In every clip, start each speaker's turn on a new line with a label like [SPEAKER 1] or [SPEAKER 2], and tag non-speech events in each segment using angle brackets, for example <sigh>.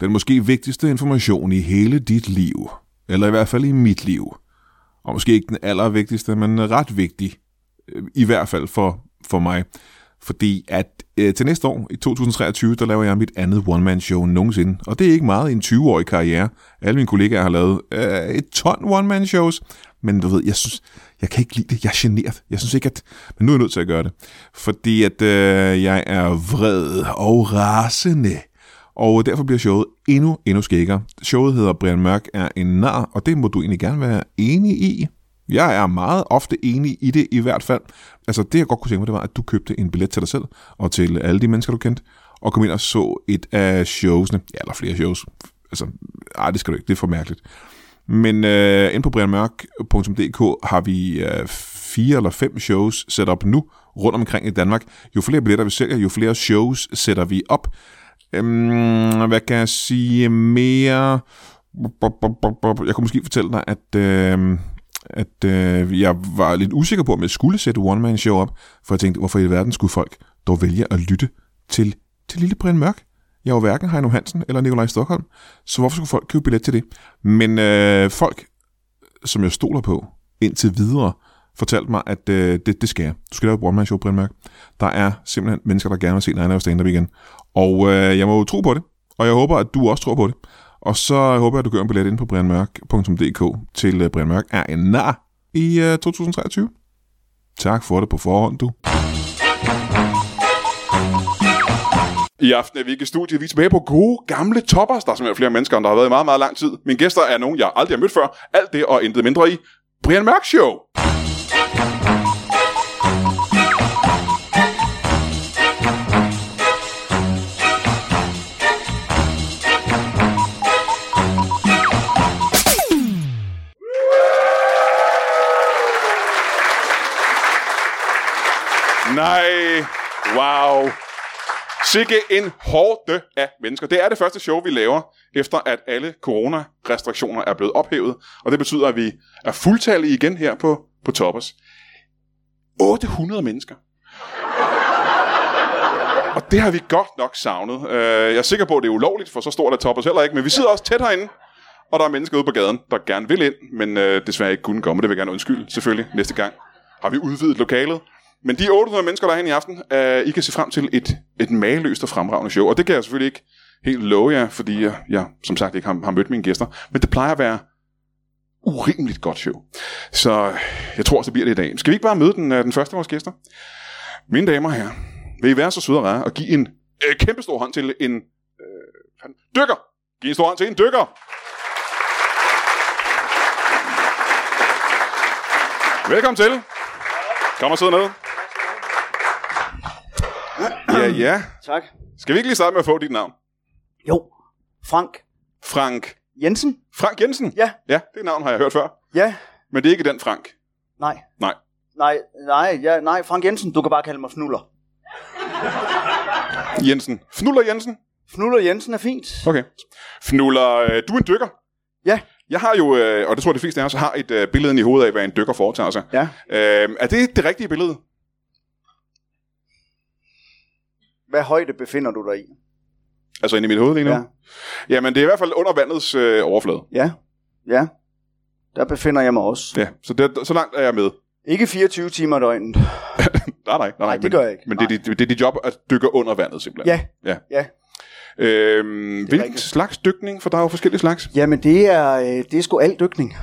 [SPEAKER 1] Den måske vigtigste information i hele dit liv, eller i hvert fald i mit liv. Og måske ikke den allervigtigste, men ret vigtig, øh, i hvert fald for, for mig. Fordi at øh, til næste år, i 2023, der laver jeg mit andet one-man-show nogensinde. Og det er ikke meget i en 20-årig karriere. Alle mine kollegaer har lavet øh, et ton one-man-shows. Men du ved, jeg synes, jeg kan ikke lide det. Jeg er generet. Jeg synes ikke, at... Men nu er jeg nødt til at gøre det. Fordi at øh, jeg er vred og rasende. Og derfor bliver showet endnu, endnu skækkere. Showet hedder Brian Mørk er en nar, og det må du egentlig gerne være enig i. Jeg er meget ofte enig i det i hvert fald. Altså det jeg godt kunne tænke mig, det var, at du købte en billet til dig selv og til alle de mennesker, du kendte, og kom ind og så et af showsene, ja, eller flere shows. Altså, ej, det skal du ikke, det er for mærkeligt. Men øh, inde på brianmørk.dk har vi øh, fire eller fem shows sat op nu rundt omkring i Danmark. Jo flere billetter vi sælger, jo flere shows sætter vi op. Øhm, hvad kan jeg sige mere? Jeg kunne måske fortælle dig, at... Øh, at øh, jeg var lidt usikker på, om jeg skulle sætte One Man Show op, for jeg tænkte, hvorfor i verden skulle folk dog vælge at lytte til, til Lille Brian Mørk? Jeg er jo hverken Heino Hansen eller Nikolaj Stockholm, så hvorfor skulle folk købe billet til det? Men øh, folk, som jeg stoler på indtil videre, fortalte mig, at øh, det, det skal jeg. Du skal lave et One Man Show, Brian Mørk. Der er simpelthen mennesker, der gerne vil se dig lave stand-up igen. Og øh, jeg må jo tro på det, og jeg håber, at du også tror på det. Og så håber jeg, at du gør en billet ind på brianmørk.dk til øh, Brian Mørk er en nar i øh, 2023. Tak for det på forhånd, du. I aften er vi ikke i studiet. Vi er tilbage på gode gamle toppers. Der er simpelthen flere mennesker, end der har været i meget, meget lang tid. Mine gæster er nogen, jeg aldrig har mødt før. Alt det og intet mindre i Brian Mørk Show. Nej, wow. Sikke en hårde af mennesker. Det er det første show, vi laver, efter at alle coronarestriktioner er blevet ophævet. Og det betyder, at vi er fuldtallige igen her på, på Toppers. 800 mennesker. Og det har vi godt nok savnet. Øh, Jeg er sikker på, at det er ulovligt, for så stort er Toppers heller ikke. Men vi sidder også tæt herinde, og der er mennesker ude på gaden, der gerne vil ind, men øh, desværre ikke kunne komme. Det vil jeg gerne undskylde, selvfølgelig, næste gang. Har vi udvidet lokalet? Men de 800 mennesker, der er herinde i aften, øh, I kan se frem til et, et mageløst og fremragende show. Og det kan jeg selvfølgelig ikke helt love jer, fordi jeg, jeg som sagt ikke har, har mødt mine gæster. Men det plejer at være urimeligt godt show. Så jeg tror, så bliver det i dag. Skal vi ikke bare møde den, øh, den første af vores gæster? Mine damer og herrer, vil I være så søde og rare og give en øh, kæmpestor hånd til en øh, fanden- dykker? Giv en stor hånd til en dykker! Velkommen til. Kom og sid ned. Ja, ja.
[SPEAKER 2] Tak.
[SPEAKER 1] Skal vi ikke lige starte med at få dit navn?
[SPEAKER 2] Jo. Frank
[SPEAKER 1] Frank.
[SPEAKER 2] Jensen?
[SPEAKER 1] Frank Jensen?
[SPEAKER 2] Ja.
[SPEAKER 1] Ja, det navn har jeg hørt før.
[SPEAKER 2] Ja.
[SPEAKER 1] Men det er ikke den Frank.
[SPEAKER 2] Nej.
[SPEAKER 1] Nej.
[SPEAKER 2] Nej, nej, ja, nej, Frank Jensen, du kan bare kalde mig Fnuller.
[SPEAKER 1] Jensen. Fnuller Jensen?
[SPEAKER 2] Fnuller Jensen er fint.
[SPEAKER 1] Okay. Fnuller, øh, du er en dykker.
[SPEAKER 2] Ja.
[SPEAKER 1] Jeg har jo, øh, og det tror jeg de fleste af os har, et øh, billede inde i hovedet af, hvad en dykker foretager sig.
[SPEAKER 2] Ja.
[SPEAKER 1] Øh, er det det rigtige billede?
[SPEAKER 2] Hvad højde befinder du dig i?
[SPEAKER 1] Altså inde i mit hoved lige nu?
[SPEAKER 2] Ja.
[SPEAKER 1] Jamen, det er i hvert fald under vandets øh, overflade.
[SPEAKER 2] Ja. Ja. Der befinder jeg mig også.
[SPEAKER 1] Ja, så, det, så langt er jeg med.
[SPEAKER 2] Ikke 24 timer i døgnet.
[SPEAKER 1] Nej, nej, nej.
[SPEAKER 2] Nej,
[SPEAKER 1] men-
[SPEAKER 2] det gør jeg ikke.
[SPEAKER 1] Men det, er dit- det, det er dit job at dykke under vandet, simpelthen.
[SPEAKER 2] Ja.
[SPEAKER 1] Ja.
[SPEAKER 2] Ja.
[SPEAKER 1] Øhm, hvilken
[SPEAKER 2] rigtigt.
[SPEAKER 1] slags dykning? For der er jo forskellige slags.
[SPEAKER 2] Jamen, det er, øh, det er sgu al dykning.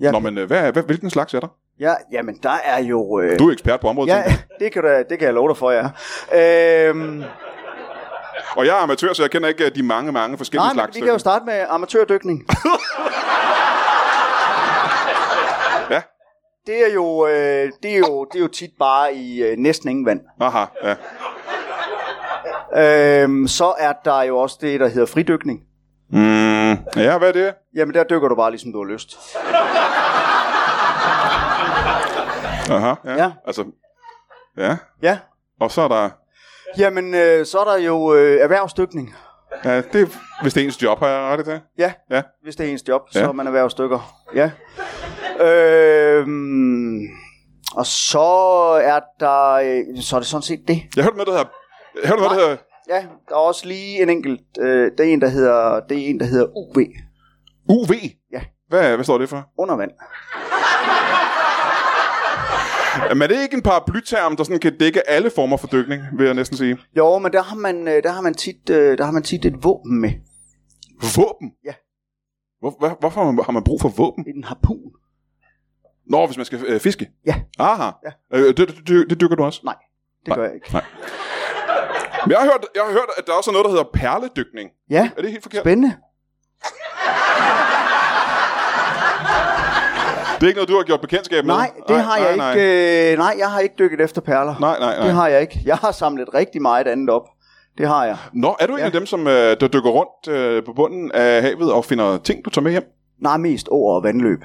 [SPEAKER 2] Ja.
[SPEAKER 1] Nå, men øh, hvad, er- hvad, hvilken slags er der?
[SPEAKER 2] Ja, jamen, der er jo... Øh,
[SPEAKER 1] Du er ekspert på området,
[SPEAKER 2] ja,
[SPEAKER 1] ja.
[SPEAKER 2] <laughs> det kan, du, det kan jeg love dig for, ja. Øhm,
[SPEAKER 1] og jeg er amatør, så jeg kender ikke øh, de mange, mange forskellige
[SPEAKER 2] nej, men
[SPEAKER 1] slags.
[SPEAKER 2] vi kan jo
[SPEAKER 1] dykning.
[SPEAKER 2] starte med amatørdykning.
[SPEAKER 1] <laughs> Ja.
[SPEAKER 2] Det er jo, øh, det er jo, det er jo tit bare i øh, næsten ingen vand.
[SPEAKER 1] Aha, ja.
[SPEAKER 2] Øhm, så er der jo også det, der hedder fridykning.
[SPEAKER 1] Mm, ja, hvad er det?
[SPEAKER 2] Jamen der dykker du bare, ligesom du har lyst.
[SPEAKER 1] Aha, ja.
[SPEAKER 2] Ja.
[SPEAKER 1] Altså, ja.
[SPEAKER 2] Ja.
[SPEAKER 1] Og så er der...
[SPEAKER 2] Jamen, øh, så er der jo øh, erhvervsdykning.
[SPEAKER 1] Ja, det er vist ens job, har jeg ret i det?
[SPEAKER 2] Ja,
[SPEAKER 1] Ja.
[SPEAKER 2] hvis det er ens job,
[SPEAKER 1] Ja.
[SPEAKER 2] ja. så er man erhvervsdykker. Ja. Øhm, og så er der, øh, så er det sådan set det.
[SPEAKER 1] Jeg hørte noget, der hedder... Jeg hørte noget, der hedder
[SPEAKER 2] ja, der er også lige en enkelt. Øh, det, er en, der hedder, det er en, der hedder UV.
[SPEAKER 1] UV?
[SPEAKER 2] Ja.
[SPEAKER 1] Hvad, hvad står det for?
[SPEAKER 2] Undervand.
[SPEAKER 1] Jamen, er det ikke en paraplyterm, der sådan kan dække alle former for dykning, vil jeg næsten sige?
[SPEAKER 2] Jo, men der har man, øh, der har man, tit, øh, der har man tit et våben med.
[SPEAKER 1] Våben?
[SPEAKER 2] Ja.
[SPEAKER 1] Hvor, hvad, hvorfor har man, har man brug for våben?
[SPEAKER 2] En harpun.
[SPEAKER 1] Nå, hvis man skal øh, fiske?
[SPEAKER 2] Ja.
[SPEAKER 1] Aha.
[SPEAKER 2] Ja.
[SPEAKER 1] Øh, det, det, det, det dykker du også?
[SPEAKER 2] Nej, det
[SPEAKER 1] Nej.
[SPEAKER 2] gør jeg ikke.
[SPEAKER 1] Men jeg har, hørt, jeg har hørt, at der også er noget, der hedder perledykning.
[SPEAKER 2] Ja,
[SPEAKER 1] Er det helt forkert?
[SPEAKER 2] spændende.
[SPEAKER 1] Det er ikke noget, du har gjort bekendtskab med?
[SPEAKER 2] Nej, det har jeg
[SPEAKER 1] nej,
[SPEAKER 2] ikke. Øh, nej, jeg har ikke dykket efter perler.
[SPEAKER 1] Nej, nej, nej.
[SPEAKER 2] Det har jeg ikke. Jeg har samlet rigtig meget andet op. Det har jeg.
[SPEAKER 1] Nå, er du en af dem, som øh, der dykker rundt øh, på bunden af havet og finder ting, du tager med hjem?
[SPEAKER 2] Nej, mest åer og vandløb.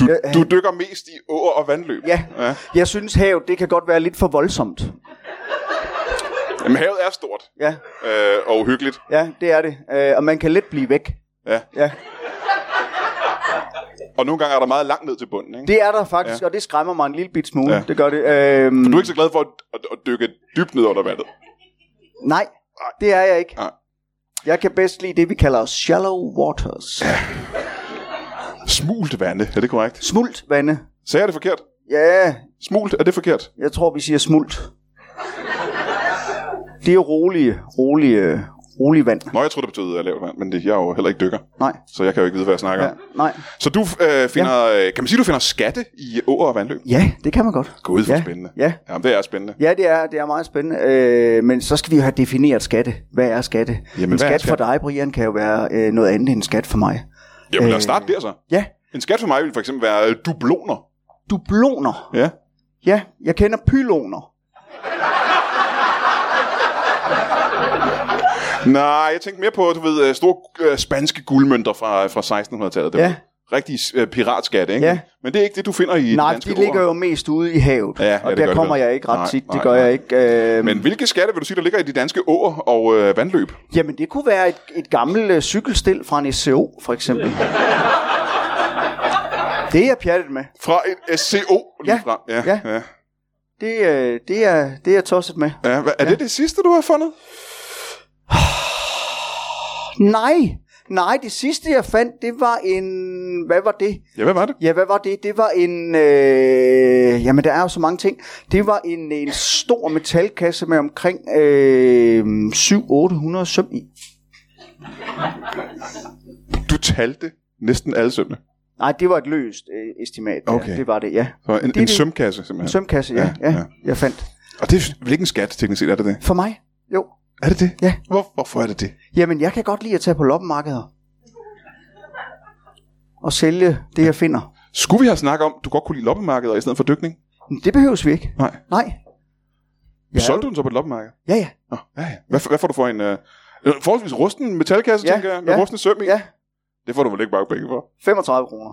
[SPEAKER 1] Du,
[SPEAKER 2] Ja,
[SPEAKER 1] du dykker mest i åer og vandløb?
[SPEAKER 2] Ja.
[SPEAKER 1] ja.
[SPEAKER 2] Jeg synes, havet det kan godt være lidt for voldsomt.
[SPEAKER 1] Jamen, havet er stort
[SPEAKER 2] Ja,
[SPEAKER 1] øh, og uhyggeligt.
[SPEAKER 2] ja det er det. Øh, og man kan let blive væk.
[SPEAKER 1] Ja.
[SPEAKER 2] Ja,
[SPEAKER 1] Og nogle gange er der meget langt ned til bunden, ikke?
[SPEAKER 2] det er der faktisk, ja. og det skræmmer mig en lille bit smule.
[SPEAKER 1] Ja.
[SPEAKER 2] Ja. Det gør det. Øhm,
[SPEAKER 1] Du er ikke så glad for at, at, at dykke dybt ned under vandet.
[SPEAKER 2] Nej, det er jeg ikke.
[SPEAKER 1] Nej.
[SPEAKER 2] Jeg kan bedst lide det, vi kalder shallow waters.
[SPEAKER 1] Smult vande, er det korrekt?
[SPEAKER 2] Smult vande.
[SPEAKER 1] Sagde jeg det forkert?
[SPEAKER 2] Ja,
[SPEAKER 1] Smult, er det forkert?
[SPEAKER 2] jeg tror, vi siger smult. Det er rolige, rolige, rolige vand.
[SPEAKER 1] Nå, jeg tror det betød øh, lavt vand, men det, jeg er jo heller ikke dykker,
[SPEAKER 2] Nej,
[SPEAKER 1] så jeg kan jo ikke vide, hvad jeg snakker
[SPEAKER 2] ja,
[SPEAKER 1] om.
[SPEAKER 2] nej.
[SPEAKER 1] Så du øh, finder, ja. kan man sige, du finder skatte i åer og vandløb?
[SPEAKER 2] Ja, det kan man godt.
[SPEAKER 1] Gud, hvor
[SPEAKER 2] ja,
[SPEAKER 1] spændende.
[SPEAKER 2] Ja,
[SPEAKER 1] Jamen, det er spændende.
[SPEAKER 2] Ja, det er, det er meget spændende. Øh, men så skal vi jo have defineret skatte. Hvad er skatte?
[SPEAKER 1] Jamen,
[SPEAKER 2] en
[SPEAKER 1] hvad er
[SPEAKER 2] skat,
[SPEAKER 1] skat?
[SPEAKER 2] for dig, Brian, kan jo være øh, noget andet end en skat for mig.
[SPEAKER 1] Jamen, lad os
[SPEAKER 2] Øh.
[SPEAKER 1] starte der så.
[SPEAKER 2] Ja,
[SPEAKER 1] En skat for mig ville for eksempel være øh, dubloner.
[SPEAKER 2] dubloner.
[SPEAKER 1] Ja.
[SPEAKER 2] Ja, jeg kender pyloner.
[SPEAKER 1] Nej, jeg tænkte mere på, du ved, øh, store øh, spanske guldmønter fra, fra 1600-tallet. Det
[SPEAKER 2] Ja.
[SPEAKER 1] var Rigtig øh, piratskatte, ikke?
[SPEAKER 2] Ja.
[SPEAKER 1] Men det er ikke det, du finder i
[SPEAKER 2] Nej,
[SPEAKER 1] danske
[SPEAKER 2] de ligger
[SPEAKER 1] åer.
[SPEAKER 2] jo mest ude i havet,
[SPEAKER 1] Ja, ja,
[SPEAKER 2] og
[SPEAKER 1] det gør
[SPEAKER 2] der
[SPEAKER 1] de
[SPEAKER 2] kommer
[SPEAKER 1] vel.
[SPEAKER 2] jeg ikke ret
[SPEAKER 1] Nej,
[SPEAKER 2] tit.
[SPEAKER 1] nej,
[SPEAKER 2] det gør
[SPEAKER 1] nej.
[SPEAKER 2] jeg ikke. Øh,
[SPEAKER 1] Men hvilke skatte vil du sige, der ligger i de danske åer og øh, vandløb?
[SPEAKER 2] Jamen, det kunne være et, et gammelt øh, cykelstil fra en SCO, for eksempel. det er jeg pjattet med.
[SPEAKER 1] Fra et SCO lige
[SPEAKER 2] Ja.
[SPEAKER 1] fra. Ja,
[SPEAKER 2] Ja.
[SPEAKER 1] ja.
[SPEAKER 2] Det, øh, det, er, det er jeg tosset med.
[SPEAKER 1] ja. Hva, er ja. det det sidste, du har fundet?
[SPEAKER 2] Nej, nej, det sidste jeg fandt, det var en... Hvad var det?
[SPEAKER 1] Ja, hvad var det?
[SPEAKER 2] Ja, hvad var det? Det var en... Øh, jamen, der er jo så mange ting. Det var en, en stor metalkasse med omkring øh, 700-800 søm i.
[SPEAKER 1] Du talte næsten alle sømmene.
[SPEAKER 2] Nej, det var et løst øh, estimat. der.
[SPEAKER 1] Okay.
[SPEAKER 2] Det var det, ja.
[SPEAKER 1] Så en,
[SPEAKER 2] Det er
[SPEAKER 1] en
[SPEAKER 2] det.
[SPEAKER 1] sømkasse,
[SPEAKER 2] En
[SPEAKER 1] simpelthen.
[SPEAKER 2] sømkasse, ja,
[SPEAKER 1] Ja,
[SPEAKER 2] ja,
[SPEAKER 1] ja.
[SPEAKER 2] ja, jeg fandt.
[SPEAKER 1] Og det er vel ikke en skat, teknisk set, er det det?
[SPEAKER 2] For mig? Jo.
[SPEAKER 1] Er det det?
[SPEAKER 2] Ja.
[SPEAKER 1] Hvor, hvorfor er det det?
[SPEAKER 2] Jamen, jeg kan godt lide at tage på loppemarkeder. Og sælge det, jeg finder.
[SPEAKER 1] Skulle vi have snakket om, at du godt kunne lide loppemarkeder i stedet for dykning?
[SPEAKER 2] Men det behøves vi ikke.
[SPEAKER 1] Nej.
[SPEAKER 2] Nej.
[SPEAKER 1] Ja. Solgte du den så på et loppemarked?
[SPEAKER 2] Ja, ja.
[SPEAKER 1] Nå, ja, ja. Hvad, hvad får du for en... Øh, en forholdsvis rusten metalkasse,
[SPEAKER 2] Ja,
[SPEAKER 1] tænker jeg, med
[SPEAKER 2] ja,
[SPEAKER 1] rustne søm i?
[SPEAKER 2] Ja,
[SPEAKER 1] Det får du vel ikke bare penge for.
[SPEAKER 2] 35 kroner.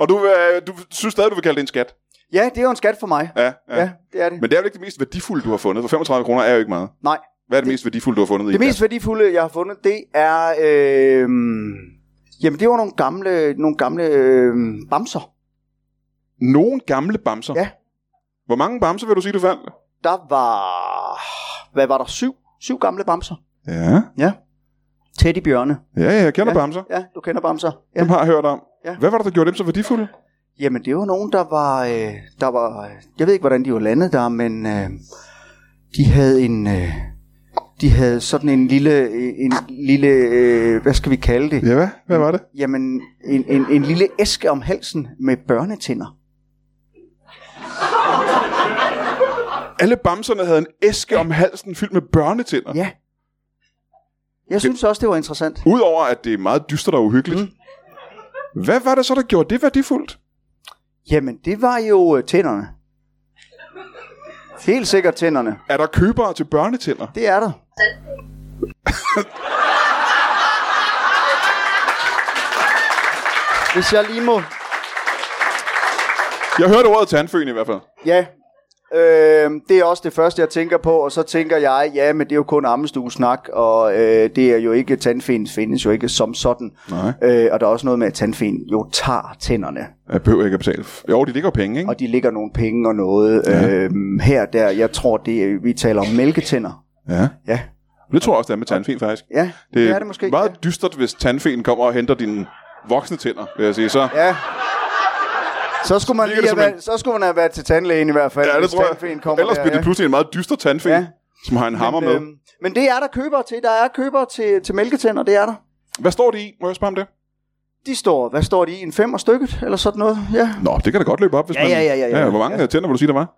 [SPEAKER 1] Og du, øh, du synes stadig, du vil kalde det en skat.
[SPEAKER 2] Ja, det er jo en skat for mig.
[SPEAKER 1] Ja, ja.
[SPEAKER 2] Ja,
[SPEAKER 1] ja.
[SPEAKER 2] det er det.
[SPEAKER 1] Men det er vel ikke det mest værdifulde, du har fundet, for 35 kroner er jo ikke meget.
[SPEAKER 2] Nej.
[SPEAKER 1] Hvad er det, mest værdifulde, du har fundet i?
[SPEAKER 2] Det
[SPEAKER 1] en
[SPEAKER 2] mest værdifulde, jeg har fundet, det er... Øh, jamen, det var nogle gamle, nogle gamle øh, bamser.
[SPEAKER 1] kasse? Nogle gamle bamser.
[SPEAKER 2] Ja.
[SPEAKER 1] Hvor mange bamser vil du sige, du fandt?
[SPEAKER 2] Der var... Hvad var der? Syv? Syv gamle bamser.
[SPEAKER 1] Ja,
[SPEAKER 2] Ja. Teddybjørne.
[SPEAKER 1] ja, ja jeg kender ja.
[SPEAKER 2] Ja.
[SPEAKER 1] bamser.
[SPEAKER 2] Ja, du kender bamser.
[SPEAKER 1] Ja. Dem
[SPEAKER 2] Ja.
[SPEAKER 1] har jeg hørt om.
[SPEAKER 2] Ja.
[SPEAKER 1] Hvad var det, der gjorde dem så værdifulde?
[SPEAKER 2] Jamen, det var nogen, der var... Øh, der var øh, jeg ved ikke, hvordan de var landet der, men øh, de havde en... Øh, de havde sådan en lille... øh, En lille øh, hvad skal vi kalde det?
[SPEAKER 1] Ja, hvad? Hvad var det?
[SPEAKER 2] Jamen, en, en, en lille æske om halsen med børnetænder.
[SPEAKER 1] Alle bamserne havde en æske om halsen fyldt med børnetænder.
[SPEAKER 2] Ja. Jeg synes også, det var interessant.
[SPEAKER 1] Udover at det er meget dystert og uhyggeligt. Mm. Hvad var det så, der gjorde det værdifuldt?
[SPEAKER 2] Jamen, det var jo øh, tænderne. Helt sikkert tænderne.
[SPEAKER 1] Er der købere til børnetænder?
[SPEAKER 2] Det er der. Hvis jeg lige må...
[SPEAKER 1] Jeg hørte ordet tandføen i hvert fald.
[SPEAKER 2] Ja,
[SPEAKER 3] Øh, det er også det første, jeg tænker på, og så tænker jeg, ja, men det er jo kun ammestuesnak, og øh, det er jo ikke, tandfen findes jo ikke som sådan.
[SPEAKER 1] Nej.
[SPEAKER 3] Øh, og der er også noget med, at tandfen jo tager tænderne,
[SPEAKER 1] Jeg behøver ikke at betale. Jo, de ligger jo penge, ikke?
[SPEAKER 3] og de ligger nogle penge og noget ja. øh, her der. Jeg tror, det er, vi taler om mælketænder.
[SPEAKER 1] Ja.
[SPEAKER 3] Ja,
[SPEAKER 1] Det tror jeg også, det er med tandfen, faktisk.
[SPEAKER 3] ja det, det er det måske.
[SPEAKER 1] meget dystert, hvis tandfen kommer og henter dine voksne tænder, vil jeg sige. Så,
[SPEAKER 3] Ja. ja. Så skulle, man
[SPEAKER 1] Ligger det
[SPEAKER 3] lige have
[SPEAKER 1] som en-
[SPEAKER 3] været, så skulle man have været til tandlægen i hvert fald,
[SPEAKER 1] ja, det
[SPEAKER 3] hvis
[SPEAKER 1] tror
[SPEAKER 3] tandfen
[SPEAKER 1] jeg.
[SPEAKER 3] kommer
[SPEAKER 1] Ellers
[SPEAKER 3] der,
[SPEAKER 1] bliver det
[SPEAKER 3] ja.
[SPEAKER 1] pludselig en meget dyster tandfen,
[SPEAKER 3] Ja.
[SPEAKER 1] som har en hammer
[SPEAKER 3] men,
[SPEAKER 1] med.
[SPEAKER 3] øhm, men det er der købere til. Der er købere til, til mælketænder, det er der.
[SPEAKER 1] Hvad står det i? Må jeg spørge om det?
[SPEAKER 3] De står, hvad står de i? En femmer stykket, eller sådan noget? Ja.
[SPEAKER 1] Nå, det kan da godt løbe op, hvis
[SPEAKER 3] Ja,
[SPEAKER 1] man...
[SPEAKER 3] ja, ja, ja, ja.
[SPEAKER 1] Hvor mange
[SPEAKER 3] Ja.
[SPEAKER 1] tænder vil du sige, der var?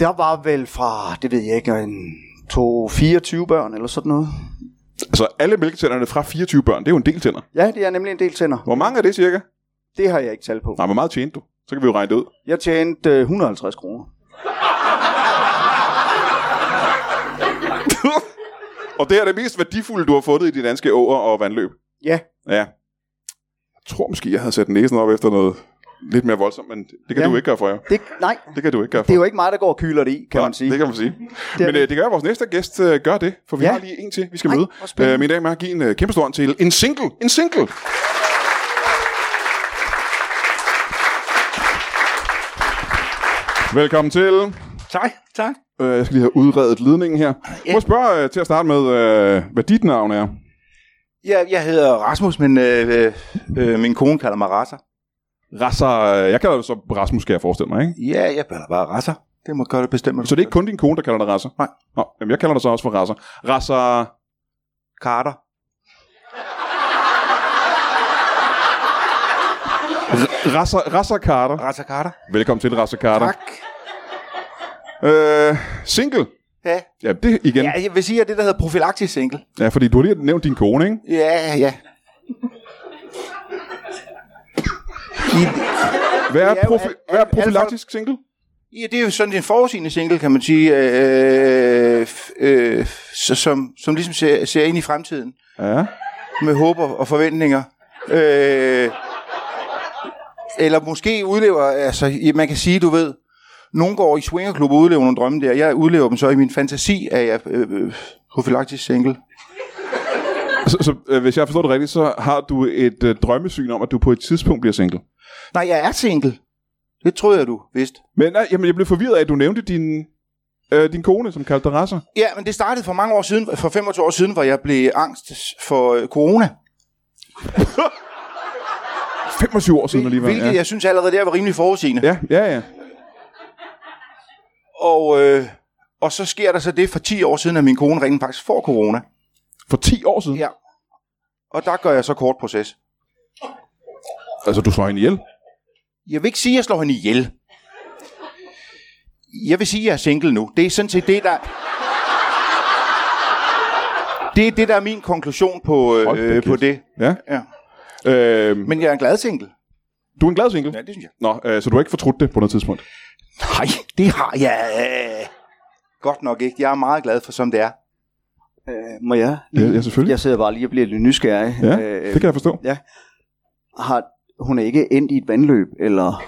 [SPEAKER 3] Der var vel fra, det ved jeg ikke, en to, 24 børn, eller sådan noget.
[SPEAKER 1] Altså, alle mælketænderne fra 24 børn, det er jo en del tænder.
[SPEAKER 3] Ja, det er nemlig en del tænder.
[SPEAKER 1] Hvor mange er det cirka?
[SPEAKER 3] Det har jeg ikke talt på.
[SPEAKER 1] Nej, hvor meget tjente du? Så kan vi jo regne det ud.
[SPEAKER 3] Jeg tjente øh, 150 kroner.
[SPEAKER 1] og det er det mest værdifulde, du har fundet i de danske åer og vandløb.
[SPEAKER 3] Ja,
[SPEAKER 1] Ja. Jeg tror måske, jeg havde sat næsen op efter noget lidt mere voldsomt, men det kan ja.
[SPEAKER 3] Ja.
[SPEAKER 1] du ikke gøre for jer.
[SPEAKER 3] det, nej,
[SPEAKER 1] Det kan du ikke gøre for.
[SPEAKER 3] det er jo ikke mig, der går og kyler det i, kan
[SPEAKER 1] Nej,
[SPEAKER 3] man sige.
[SPEAKER 1] Det kan man sige.
[SPEAKER 3] Det er
[SPEAKER 1] Men øh,
[SPEAKER 3] det.
[SPEAKER 1] det gør, at vores næste gæst øh, gør det, for vi ja.
[SPEAKER 3] Ja.
[SPEAKER 1] har lige en til, vi skal
[SPEAKER 3] Ej,
[SPEAKER 1] møde.
[SPEAKER 3] hvor spændende.
[SPEAKER 1] Øh, min dag med at give en øh, kæmpe stor hånd til en single. En single! Velkommen til.
[SPEAKER 2] Tak, tak.
[SPEAKER 1] Øh, jeg skal lige have udredet ledningen her. Ja.
[SPEAKER 2] Ja.
[SPEAKER 1] Må jeg spørge øh, til at starte med, øh, hvad dit navn er?
[SPEAKER 2] Jeg, jeg hedder Rasmus, men øh, øh, øh, min kone kalder mig Rasser.
[SPEAKER 1] Rasser, øh, jeg kalder dig så Rasmus, kan jeg forestille mig, ikke?
[SPEAKER 2] Ja, jeg kalder bare Rasser. Det må godt bestemme.
[SPEAKER 1] Så det er ikke kun din kone, der kalder dig Rasser?
[SPEAKER 2] Nej.
[SPEAKER 1] Nå, jamen, jeg kalder dig så også for Rasser. Rasser,
[SPEAKER 2] Carter.
[SPEAKER 1] Rasser, Rasser Carter.
[SPEAKER 2] Rasser Carter.
[SPEAKER 1] Velkommen til, Rasser Carter.
[SPEAKER 2] Tak.
[SPEAKER 1] Øh, single.
[SPEAKER 2] Ja.
[SPEAKER 1] Ja, det igen.
[SPEAKER 2] ja, jeg vil sige, at det der hedder profilaktisk single.
[SPEAKER 1] Ja, fordi du har lige nævnt din kone, ikke?
[SPEAKER 2] Ja, ja.
[SPEAKER 1] Hvad er,
[SPEAKER 2] Det er jo
[SPEAKER 1] profi-
[SPEAKER 2] alt-
[SPEAKER 1] hvad er
[SPEAKER 2] alt- alt
[SPEAKER 1] profilaktisk single?
[SPEAKER 2] Ja, det er jo sådan en forudsigende single, kan man sige, øh, f- øh, så, som, som ligesom ser, ser ind i fremtiden
[SPEAKER 1] Ja.
[SPEAKER 2] med håb og, og forventninger. Øh, eller måske udlever, altså ja, man kan sige, du ved, nogen går i swingerklub og udlever nogle drømme der, jeg udlever dem så i min fantasi, at jeg øh, øh, profilaktisk single.
[SPEAKER 1] Så, så øh, hvis jeg forstår det rigtigt, så har du et øh, drømmesyn om, at du på et tidspunkt bliver single.
[SPEAKER 2] Nej, jeg er single. Det troede jeg, du vidste.
[SPEAKER 1] Men nej, jamen, jeg blev forvirret af, at du nævnte din, øh, din kone, som kaldte dig Rasser.
[SPEAKER 2] Ja, men det startede for mange år siden, for 25 år siden, hvor jeg blev angst for øh, corona.
[SPEAKER 1] 25 år siden alligevel.
[SPEAKER 2] Hvilket
[SPEAKER 1] ja.
[SPEAKER 2] jeg synes allerede der var rimelig forudsigende.
[SPEAKER 1] ja, ja, ja.
[SPEAKER 2] Og, øh, og så sker der så det for 10 år siden, at min kone rent faktisk får corona.
[SPEAKER 1] For 10 år siden?
[SPEAKER 2] Ja. Og der gør jeg så kort proces.
[SPEAKER 1] Altså, du slår hende ihjel?
[SPEAKER 2] Jeg vil ikke sige, at jeg slår hende ihjel. Jeg vil sige, at jeg er single nu. Det er sådan set det, der... Det er det, der er min konklusion på, øh,
[SPEAKER 1] Hold da
[SPEAKER 2] øh, på
[SPEAKER 1] kæft.
[SPEAKER 2] det.
[SPEAKER 1] Ja.
[SPEAKER 2] Ja.
[SPEAKER 1] Øh, Men...
[SPEAKER 2] Men jeg er en glad single.
[SPEAKER 1] Du er en glad single?
[SPEAKER 2] Ja, det synes jeg.
[SPEAKER 1] Nå, øh, så du har ikke fortrudt det på noget tidspunkt?
[SPEAKER 2] Nej, det har jeg øh, godt nok ikke. Jeg er meget glad for, som det er.
[SPEAKER 3] Øh, må jeg?
[SPEAKER 1] Ja, ja selvfølgelig.
[SPEAKER 3] Jeg sidder bare lige og bliver lidt nysgerrig. Øh,
[SPEAKER 1] Ja,
[SPEAKER 2] Øh,
[SPEAKER 1] det kan jeg forstå.
[SPEAKER 3] har, hun er ikke endt i et vandløb, eller...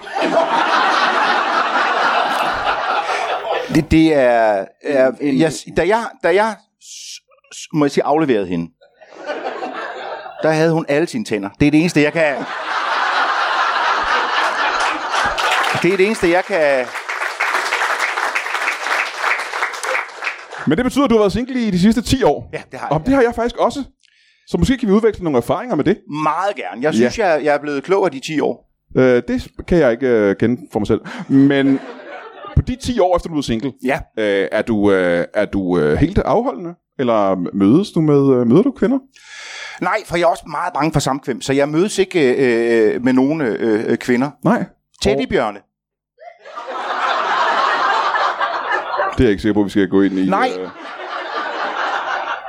[SPEAKER 2] Det, det er... er
[SPEAKER 3] En-
[SPEAKER 2] jeg, da jeg, da jeg s- s- må jeg sige, afleverede hende, der havde hun alle sine tænder. Det er det eneste, jeg kan... Det er det eneste, jeg kan...
[SPEAKER 1] Men det betyder, at du har været single i de sidste 10 år?
[SPEAKER 2] Ja, det har
[SPEAKER 1] Og
[SPEAKER 2] jeg.
[SPEAKER 1] det har jeg faktisk også. Så måske kan vi udveksle nogle erfaringer med det.
[SPEAKER 2] Meget gerne. Jeg synes, jeg, jeg er blevet klogere de 10 år.
[SPEAKER 1] Øh, det kan jeg ikke øh, kende for mig selv. Men på de 10 år efter du blev single,
[SPEAKER 2] Ja.
[SPEAKER 1] øh, er du, øh, er du øh, helt afholdende? Eller mødes du med øh, møder du kvinder?
[SPEAKER 2] Nej, for jeg er også meget bange for samkvem, så jeg mødes ikke øh, øh, med nogen øh, øh, kvinder.
[SPEAKER 1] Nej,
[SPEAKER 2] Teddybjørne.
[SPEAKER 1] det er jeg ikke sikker på, at vi skal gå ind i.
[SPEAKER 2] Nej.
[SPEAKER 1] Øh.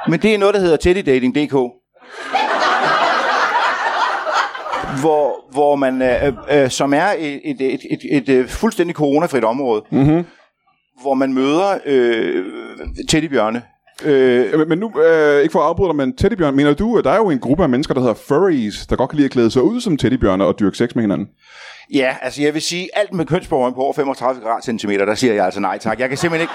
[SPEAKER 2] Men det er noget, der hedder teddydating.dk. Hvor, hvor man, øh, øh, som er et, et, et, et, et øh, fuldstændig coronafrit område, mm-hmm. hvor man møder øh, teddybjørne.
[SPEAKER 4] Øh, men- men nu, øh, ikke for at afbryde dig, men teddybjørn, mener du, at der er jo en gruppe af mennesker, der hedder furries, der godt kan lide at klæde sig ud som teddybjørne og dyrke sex med hinanden?
[SPEAKER 2] Ja, altså jeg vil sige, alt med kønsborgeren på over 35 grad centimeter, der siger jeg altså nej tak. Jeg kan simpelthen ikke...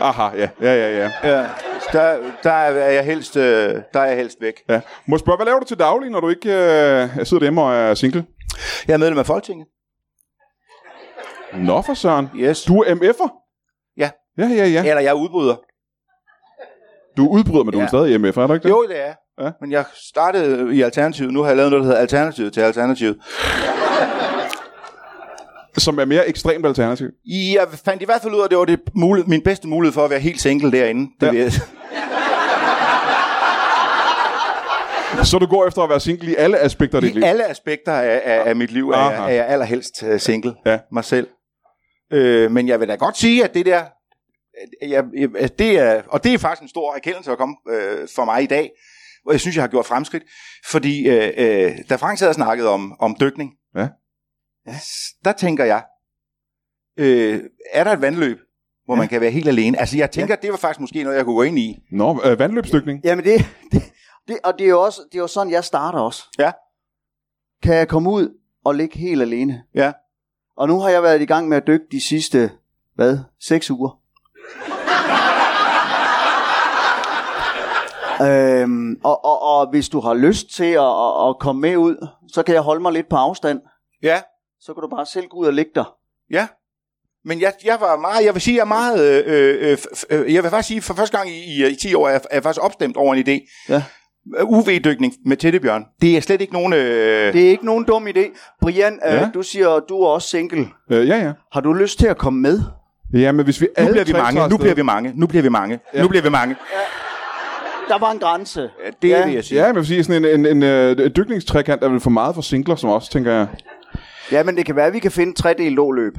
[SPEAKER 4] Aha, ja, ja, ja, ja.
[SPEAKER 2] Ja, øh, der, der, er jeg helst, øh, der er jeg helst væk.
[SPEAKER 4] ja. Må jeg spørge, hvad laver du til daglig, når du ikke øh, sidder hjemme og er single?
[SPEAKER 2] Jeg er medlem af Folketinget.
[SPEAKER 4] Nå for søren.
[SPEAKER 2] Yes.
[SPEAKER 4] Du er MF'er?
[SPEAKER 2] Ja.
[SPEAKER 4] Ja, ja, ja.
[SPEAKER 2] Eller jeg er udbryder.
[SPEAKER 4] Du udbryder, men du ja. er
[SPEAKER 2] Ja.
[SPEAKER 4] stadig MF'er, er du ikke det?
[SPEAKER 2] Jo, det er
[SPEAKER 4] Ja.
[SPEAKER 2] ja. Men jeg startede i Alternativet. Nu har jeg lavet noget, der hedder Alternativet til Alternativet.
[SPEAKER 4] Som er mere ekstremt alternativ.
[SPEAKER 2] Jeg fandt i hvert fald ud af, at det var det mulighed, min bedste mulighed for at være helt single derinde. Det
[SPEAKER 4] Ja.
[SPEAKER 2] ja. vil
[SPEAKER 4] <laughs>
[SPEAKER 2] jeg.
[SPEAKER 4] Så du går efter at være single i alle aspekter af dit liv?
[SPEAKER 2] I alle aspekter af, af, af mit liv er,
[SPEAKER 4] Aha.
[SPEAKER 2] jeg, er jeg allerhelst øh, single.
[SPEAKER 4] Ja.
[SPEAKER 2] Mig selv. Øh, men jeg vil da godt sige, at det der... at Jeg, jeg- at det er, og det er faktisk en stor erkendelse at komme øh, for mig i dag, hvor jeg synes, jeg har gjort fremskridt. Fordi øh, øh, da Frank sad og snakkede om, om dykning,
[SPEAKER 4] Ja.
[SPEAKER 2] Ja, s- der tænker jeg, øh, er der et vandløb, hvor ja. man kan være helt alene? Altså jeg tænker, ja. det var faktisk måske noget, jeg kunne gå ind i.
[SPEAKER 4] Nå, øh, vandløbsdykning?
[SPEAKER 5] Jamen det, <laughs> det, det, og det er jo også det er jo sådan, jeg starter også.
[SPEAKER 2] Ja.
[SPEAKER 5] Kan jeg komme ud og ligge helt alene?
[SPEAKER 2] Ja.
[SPEAKER 5] Og nu har jeg været i gang med at dykke de sidste, hvad,
[SPEAKER 2] <laughs>
[SPEAKER 5] seks uger. øhm, og, og, og hvis du har lyst til at, at, at komme med ud, så kan jeg holde mig lidt på afstand.
[SPEAKER 2] Ja,
[SPEAKER 5] Så kan du bare selv gå ud og ligge dig.
[SPEAKER 2] Ja. Men jeg, jeg var meget, jeg vil sige, jeg er meget, øh, øh, f- øh, jeg vil faktisk sige, for første gang i, i, i 10 år, er jeg, er jeg faktisk opstemt over en idé.
[SPEAKER 5] Ja.
[SPEAKER 2] UV-dykning med tættebjørn. Det er slet ikke nogen... Øh,
[SPEAKER 5] Det er ikke nogen dum idé. Brian, ja.
[SPEAKER 4] Ja.
[SPEAKER 5] øh, du siger, du er også single.
[SPEAKER 4] Øh, ja, ja.
[SPEAKER 5] Har du lyst til at komme med?
[SPEAKER 4] Ja, men hvis vi
[SPEAKER 2] nu
[SPEAKER 4] alle
[SPEAKER 2] bliver vi
[SPEAKER 4] tre tager
[SPEAKER 2] mange, nu
[SPEAKER 4] afsted-
[SPEAKER 2] bliver vi mange, nu bliver vi mange, nu bliver vi mange.
[SPEAKER 5] Der var en grænse.
[SPEAKER 2] Det
[SPEAKER 5] Ja.
[SPEAKER 2] vil jeg sige.
[SPEAKER 4] Ja, men jeg vil sige, sådan en, en, en, en dykningstrekant er vel for meget for singler som os, tænker jeg.
[SPEAKER 5] Ja, men det kan være, at vi kan finde tre del løb.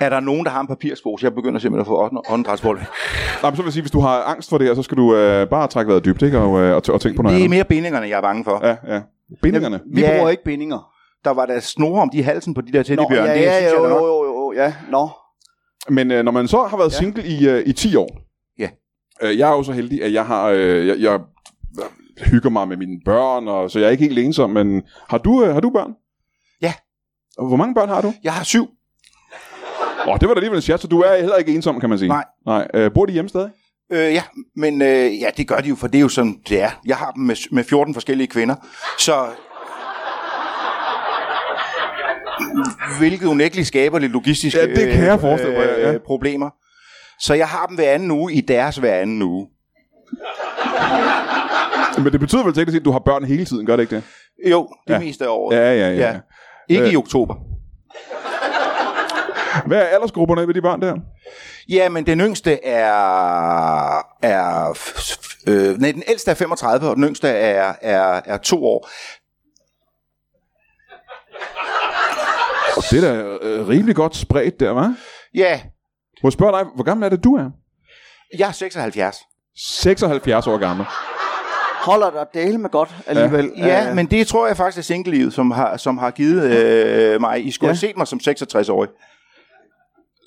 [SPEAKER 2] Er der nogen, der har en papirspose? Jeg begynder simpelthen at få ånd- åndedrætsvold.
[SPEAKER 4] Nej, men så vil jeg sige, hvis du har angst for det her, så skal du øh, bare trække vejret dybt, ikke? Og, øh, og, t- og tænke på noget
[SPEAKER 2] Det er
[SPEAKER 4] andet.
[SPEAKER 2] mere bindingerne, jeg er bange for.
[SPEAKER 4] Ja, ja. Bindingerne.
[SPEAKER 5] Vi ja.
[SPEAKER 2] Ja.
[SPEAKER 5] bruger ikke bindinger.
[SPEAKER 2] Der var der snore om de halsen på de der tættebjørn.
[SPEAKER 5] ja,
[SPEAKER 2] det
[SPEAKER 5] ja,
[SPEAKER 2] synes
[SPEAKER 5] jo,
[SPEAKER 2] jeg da
[SPEAKER 5] jo,
[SPEAKER 2] nok.
[SPEAKER 5] jo, jo, ja, nå.
[SPEAKER 4] Men øh, når man så har været ja. single i, øh, i 10 år.
[SPEAKER 2] Ja.
[SPEAKER 4] Øh, jeg er jo så heldig, at jeg har... Øh, jeg, jeg hygger mig med mine børn, og, så jeg er ikke helt ensom, men har du, øh, har du børn?
[SPEAKER 2] Ja.
[SPEAKER 4] Og Hvor mange børn har du?
[SPEAKER 2] Jeg har syv.
[SPEAKER 4] Åh, oh, det var da alligevel en chat, så du er heller ikke ensom, kan man sige.
[SPEAKER 2] Nej.
[SPEAKER 4] Nej. Øh, bor de hjemme stadig?
[SPEAKER 2] Øh, ja, men øh, ja, det gør de jo, for det er jo sådan, det er. Jeg har dem med, med 14 forskellige kvinder, så... Hvilket unægteligt skaber lidt logistiske
[SPEAKER 4] Ja, det kan jeg forestille mig, ja, ja.
[SPEAKER 2] øh, problemer. Så jeg har dem hver anden uge i deres hver anden uge.
[SPEAKER 4] Men det betyder vel teknisk set, at du har børn hele tiden, gør det ikke det?
[SPEAKER 2] Jo, det ja. meste af året.
[SPEAKER 4] Ja, ja, ja. ja.
[SPEAKER 2] Ikke
[SPEAKER 4] Øh.
[SPEAKER 2] øh. i oktober.
[SPEAKER 4] Hvad er aldersgrupperne ved de børn der?
[SPEAKER 2] Ja, men den yngste er... er f- f- øh, nej, den ældste er 35, og den yngste er, er, er to år.
[SPEAKER 4] Og det er da øh, rimelig godt spredt der, hva'?
[SPEAKER 2] Ja,
[SPEAKER 4] Må jeg spørge dig, hvor gammel er det, du er?
[SPEAKER 2] jeg er 76.
[SPEAKER 4] 76 år gammel.
[SPEAKER 5] Holder dig del med godt alligevel.
[SPEAKER 2] Ja,
[SPEAKER 5] Øh,
[SPEAKER 2] men det tror jeg faktisk er single-livet, som har, som har givet øh, mig. I skulle ja. have set mig som 66-årig.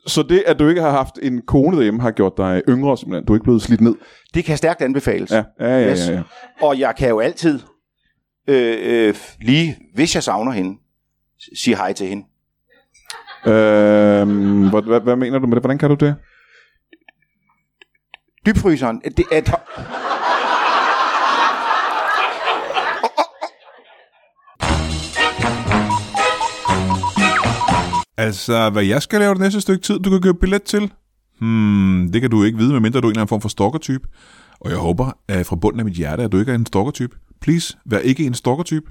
[SPEAKER 4] Så det, at du ikke har haft en kone derhjemme, har gjort dig yngre simpelthen. Du er ikke blevet slidt ned.
[SPEAKER 2] Det kan stærkt anbefales.
[SPEAKER 4] Ja, ja, ja.
[SPEAKER 2] Yes.
[SPEAKER 4] ja, ja.
[SPEAKER 2] Og jeg kan jo altid, øh, øh, lige hvis jeg savner hende, s- sige hej til hende.
[SPEAKER 4] Øhm, hvad, hvad, hvad mener du med det? Hvordan kan du det?
[SPEAKER 2] Dybfryseren, det er... et-
[SPEAKER 1] Altså, hvad jeg skal lave det næste stykke tid, du kan købe billet til? Hmm, det kan du ikke vide, medmindre du er en eller anden form for stalkertype. Og jeg håber at fra bunden af mit hjerte, at du ikke er en stalkertype. Please, vær ikke en stalkertype.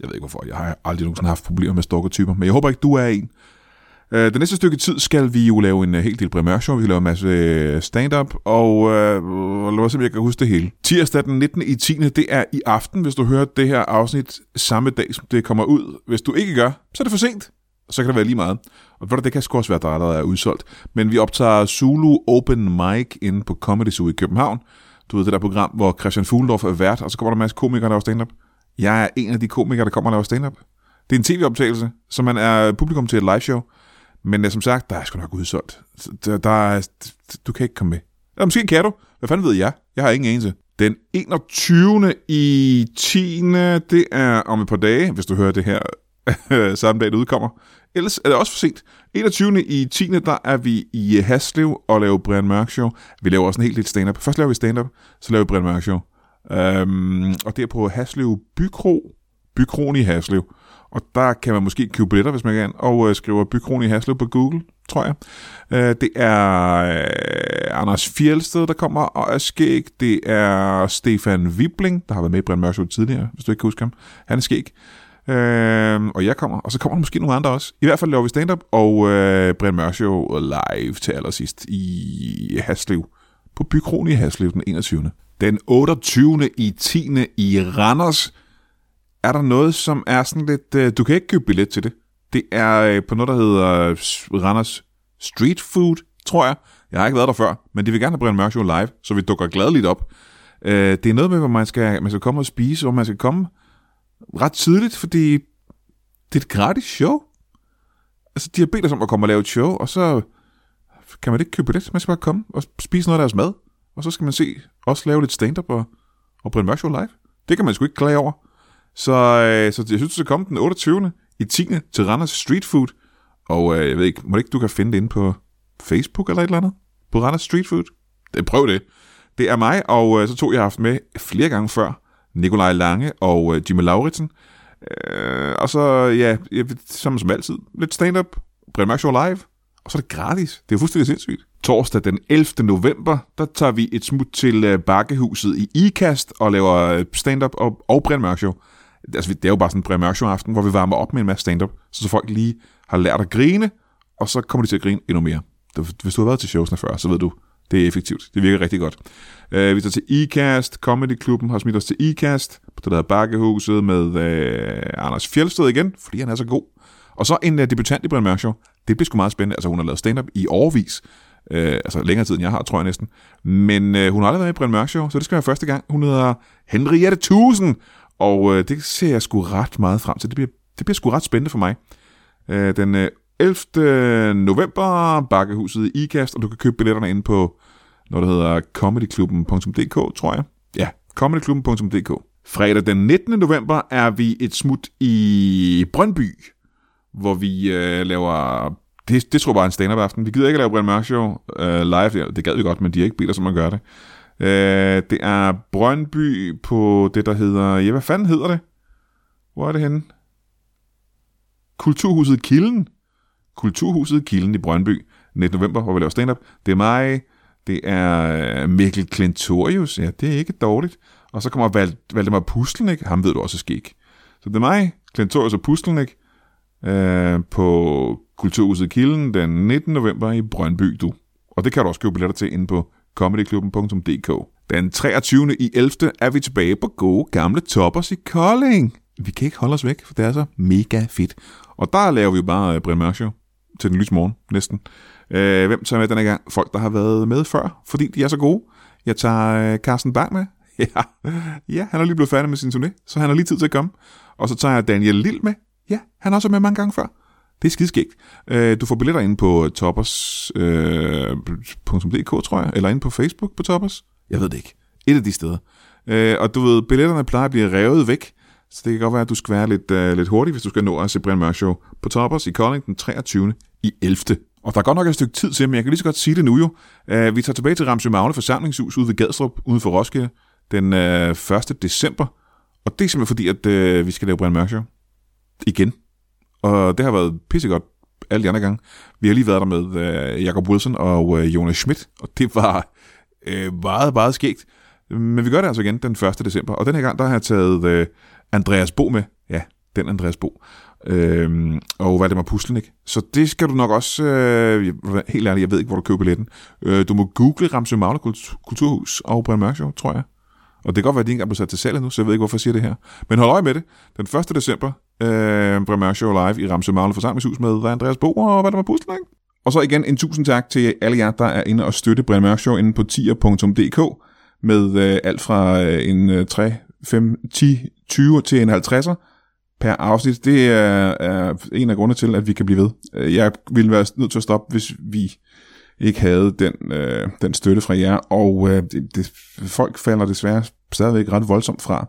[SPEAKER 1] Jeg ved ikke hvorfor, jeg har aldrig nogensinde haft problemer med stalkertyper, men jeg håber ikke, du er en. Øh, det næste stykke tid skal vi jo lave en øh, hel del primærshow. Vi skal lave en masse øh, stand-up, og øh, lad mig se, om jeg kan huske det hele. Tirsdag den 19. i 10. det er i aften, hvis du hører det her afsnit samme dag, som det kommer ud. Hvis du ikke gør, så er det for sent. Så kan det være lige meget. Og ved du, det kan sgu også være, at der allerede er udsolgt. Men vi optager Zulu Open Mic inde på Comedy Zoo i København. Du ved det der program, hvor Christian Fuglendorf er vært, og så kommer der en masse komikere, der laver stand-up. Jeg er en af de komikere, der kommer og laver stand-up. Det er en tv-optagelse, så man er publikum til et live show. Men øh, som sagt, der er sgu nok udsolgt. Så Der, der er, du kan ikke komme med. Eller måske kan du. Hvad fanden ved jeg? Jeg har ingen anelse. Den 21. i 10. Det er om et par dage, hvis du hører det her <laughs> samme dag, det udkommer. Ellers er det også for sent. 21. i 10. der er vi i Haslev og laver Brian Mørk Show. Vi laver også en helt lidt stand-up. Først laver vi stand-up, så laver vi Brian Mørk Show. Øhm, og det er på Haslev Bykro. Bykron i Haslev. Og der kan man måske købe billetter, hvis man kan, og øh, skriver Bykron i Haslev på Google, tror jeg. Øh, det er øh, Anders Fjelsted, der kommer og er skæg. Det er Stefan Wibling, der har været med i Brian Mørk Show tidligere, hvis du ikke kan huske ham. Han er skæg. Øh, og jeg kommer, og så kommer der måske nogle andre også. I hvert fald laver vi stand-up og øh, Brian Mørk Show live til allersidst i Haslev. På Bykron i Haslev den 21. Den 28. i 10. i Randers er der noget, som er sådan lidt... Øh, du kan ikke købe billet til det. Det er øh, på noget, der hedder øh, S- Randers Street Food, tror jeg. Jeg har ikke været der før, men de vil gerne have Brian Mørk Show live, så vi dukker gladeligt op. Øh, det er noget med, hvor man skal, man skal komme og spise, hvor man skal komme ret tidligt, fordi det er et gratis show. Altså, de har bedt os om at komme og lave et show, og så kan man ikke købe billet. Man skal bare komme og spise noget af deres mad, og så skal man se os lave lidt stand-up og, og Brian Mørk Show live. Det kan man sgu ikke klage over. Så, øh, så jeg synes, du skal komme den 28. i 10. til Randers Street Food. Og øh, jeg ved ikke, må det ikke du kan finde det inde på Facebook eller et eller andet? På Randers Street Food? Det, prøv det. Det er mig, og øh, så tog jeg har haft med flere gange før. Nikolaj Lange og øh, Jimmy Lauritsen. Øh, og så, ja, jeg, som, som altid, lidt stand-up, Brian Mørk Show live, og så er det gratis. Det er jo fuldstændig sindssygt. Torsdag den 11. november, der tager vi et smut til øh, Bakkehuset i IKAST og laver øh, stand-up og, og Brian Mørk Show. Altså, vi- det er jo bare sådan en Brian Mørk Show aften, hvor vi varmer op med en masse stand-up, så, så folk lige har lært at grine, og så kommer de til at grine endnu mere. Det- Hvis du har været til showsene før, så ved du, det er effektivt. Det virker rigtig godt. Øh, vi tager til ICAST. Comedy Klubben har smidt os til ICAST. På det der hedder Bakkehuset med øh, Anders Fjeldsted igen, fordi han er så god. Og så en øh, debutant i Brian Mørk Show. Det bliver sgu meget spændende. Altså, hun har lavet stand-up i årvis. Øh, altså længere tid, end jeg har, tror jeg næsten. Men øh, hun har aldrig været med i Brian Mørk Show, så det skal være første gang. Hun hedder Henriette Tusen, og øh, det ser jeg sgu ret meget frem til. Det bliver, det bliver sgu ret spændende for mig. Øh, den øh, 11. november, Bakkehuset i IKAST, og du kan købe billetterne inde på noget, der hedder comedyklubben.dk, tror jeg. Ja, comedyklubben.dk. Fredag den 19. november er vi et smut i Brøndby, hvor vi øh, laver... Det, det tror jeg bare er en stand-up aften. Vi gider ikke at lave Brian Mørk Show øh, live. Det gad vi godt, men de har ikke bedt os om at gøre det. Øh, det er Brøndby på det, der hedder... Ja, hvad fanden hedder det? Hvor er det henne? Kulturhuset Kilden. Kulturhuset Kilden i Brøndby. 19. november, hvor vi laver stand-up. Det er mig. Det er øh, Mikkel Klintorius. Ja, det er ikke dårligt. Og så kommer Val Valdemar Pustelnik. Ham ved du også er skæg. Så det er mig, Klintorius og Pustelnik øh, på Kulturhuset Kilden den 19. november i Brøndby, du. Og det kan du også købe billetter til inde på comedyklubben.dk. Den 23. i 11. er vi tilbage på gode gamle toppers i Kolding. Vi kan ikke holde os væk, for det er så mega fedt. Og der laver vi jo bare øh, Brian Mørk Show til den lyse morgen, næsten. Øh, hvem tager med denne gang? Folk, der har været med før, fordi de er så gode. Jeg tager øh, Carsten Bang med. <laughs> Ja. ja, han er lige blevet færdig med sin turné, så han har lige tid til at komme. Og så tager jeg Daniel Lille med. Ja, han har også været med mange gange før. Det er skideskægt. Øh, du får billetter inde på toppers.dk, øh, .dk, tror jeg, eller inde på Facebook på Toppers. Jeg ved det ikke. Et af de steder. Øh, og du ved, billetterne plejer at blive revet væk, så det kan godt være, at du skal være lidt, øh, lidt hurtig, hvis du skal nå at se Brian Mørk Show på Toppers i Kolding den 23. i 11. Og der er godt nok et stykke tid til, men jeg kan lige så godt sige det nu jo. Øh, vi tager tilbage til Ramsø Magne forsamlingshus ude ved Gadstrup, uden for Roskilde, den øh, 1. december. Og det er simpelthen fordi, at øh, vi skal lave Brian Mørk Show. Igen. Og det har været pissegodt alle de andre gange. Vi har lige været der med øh, Jacob Wilson og øh, Jonas Schmidt, og det var øh, meget, meget skægt. Men vi gør det altså igen den 1. december, og den her gang der har jeg taget øh, Andreas Bo med. Ja, den Andreas Bo. Øhm, og Valdemar Puslenik. Så det skal du nok også... Øh, jeg- helt ærligt, jeg ved ikke, hvor du køber billetten. Øh, du må google Ramsø Magle Kult- Kulturhus og Brian Mørk Show, tror jeg. Og det kan godt være, at de ikke engang blev sat til salg endnu, så jeg ved ikke, hvorfor jeg siger det her. Men hold øje med det. Den 1. december, øh, Brian Mørk Show live i Ramsø Magle Forsamlingshus med Andreas Bo og Valdemar Puslenik. Og så igen en tusind tak til alle jer, der er inde og støtte Brian Mørk Show inde på tier.dk med øh, alt fra øh, en øh, 3, 5, 10, 20 til en 50'er.
[SPEAKER 6] per afsnit. Det er, er en af grundene til, at vi kan blive ved. Øh, Jeg ville være nødt til at stoppe, hvis vi ikke havde den, øh, den støtte fra jer, og øh, det, det, folk falder desværre stadigvæk ret voldsomt fra.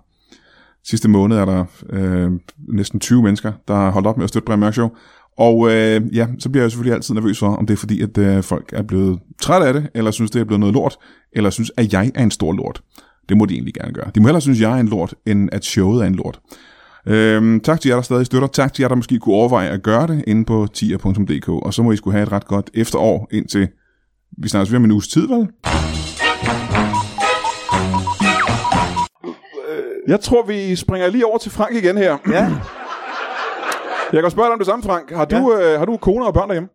[SPEAKER 6] Sidste måned er der øh, næsten 20 mennesker, der har holdt op med at støtte Brian Mørk Show. Og øh, ja, så bliver jeg jo selvfølgelig altid nervøs for, om det er fordi, at øh, folk er blevet trætte af det, eller synes, det er blevet noget lort, eller synes, at jeg er en stor lort. Det må de egentlig gerne gøre. De må hellere synes, at jeg er en lort, end at showet er en lort. Øhm, tak til jer, der stadig støtter. Tak til jer, der måske kunne overveje at gøre det inde på tier.dk. Og så må I skulle have et ret godt efterår indtil... Vi snakkes ved om en uges tid, vel?
[SPEAKER 1] Jeg tror, vi springer lige over til Frank igen her.
[SPEAKER 5] Ja.
[SPEAKER 1] Jeg kan spørge dig om det samme, Frank. Har du, ja. øh, har du kone og børn derhjemme?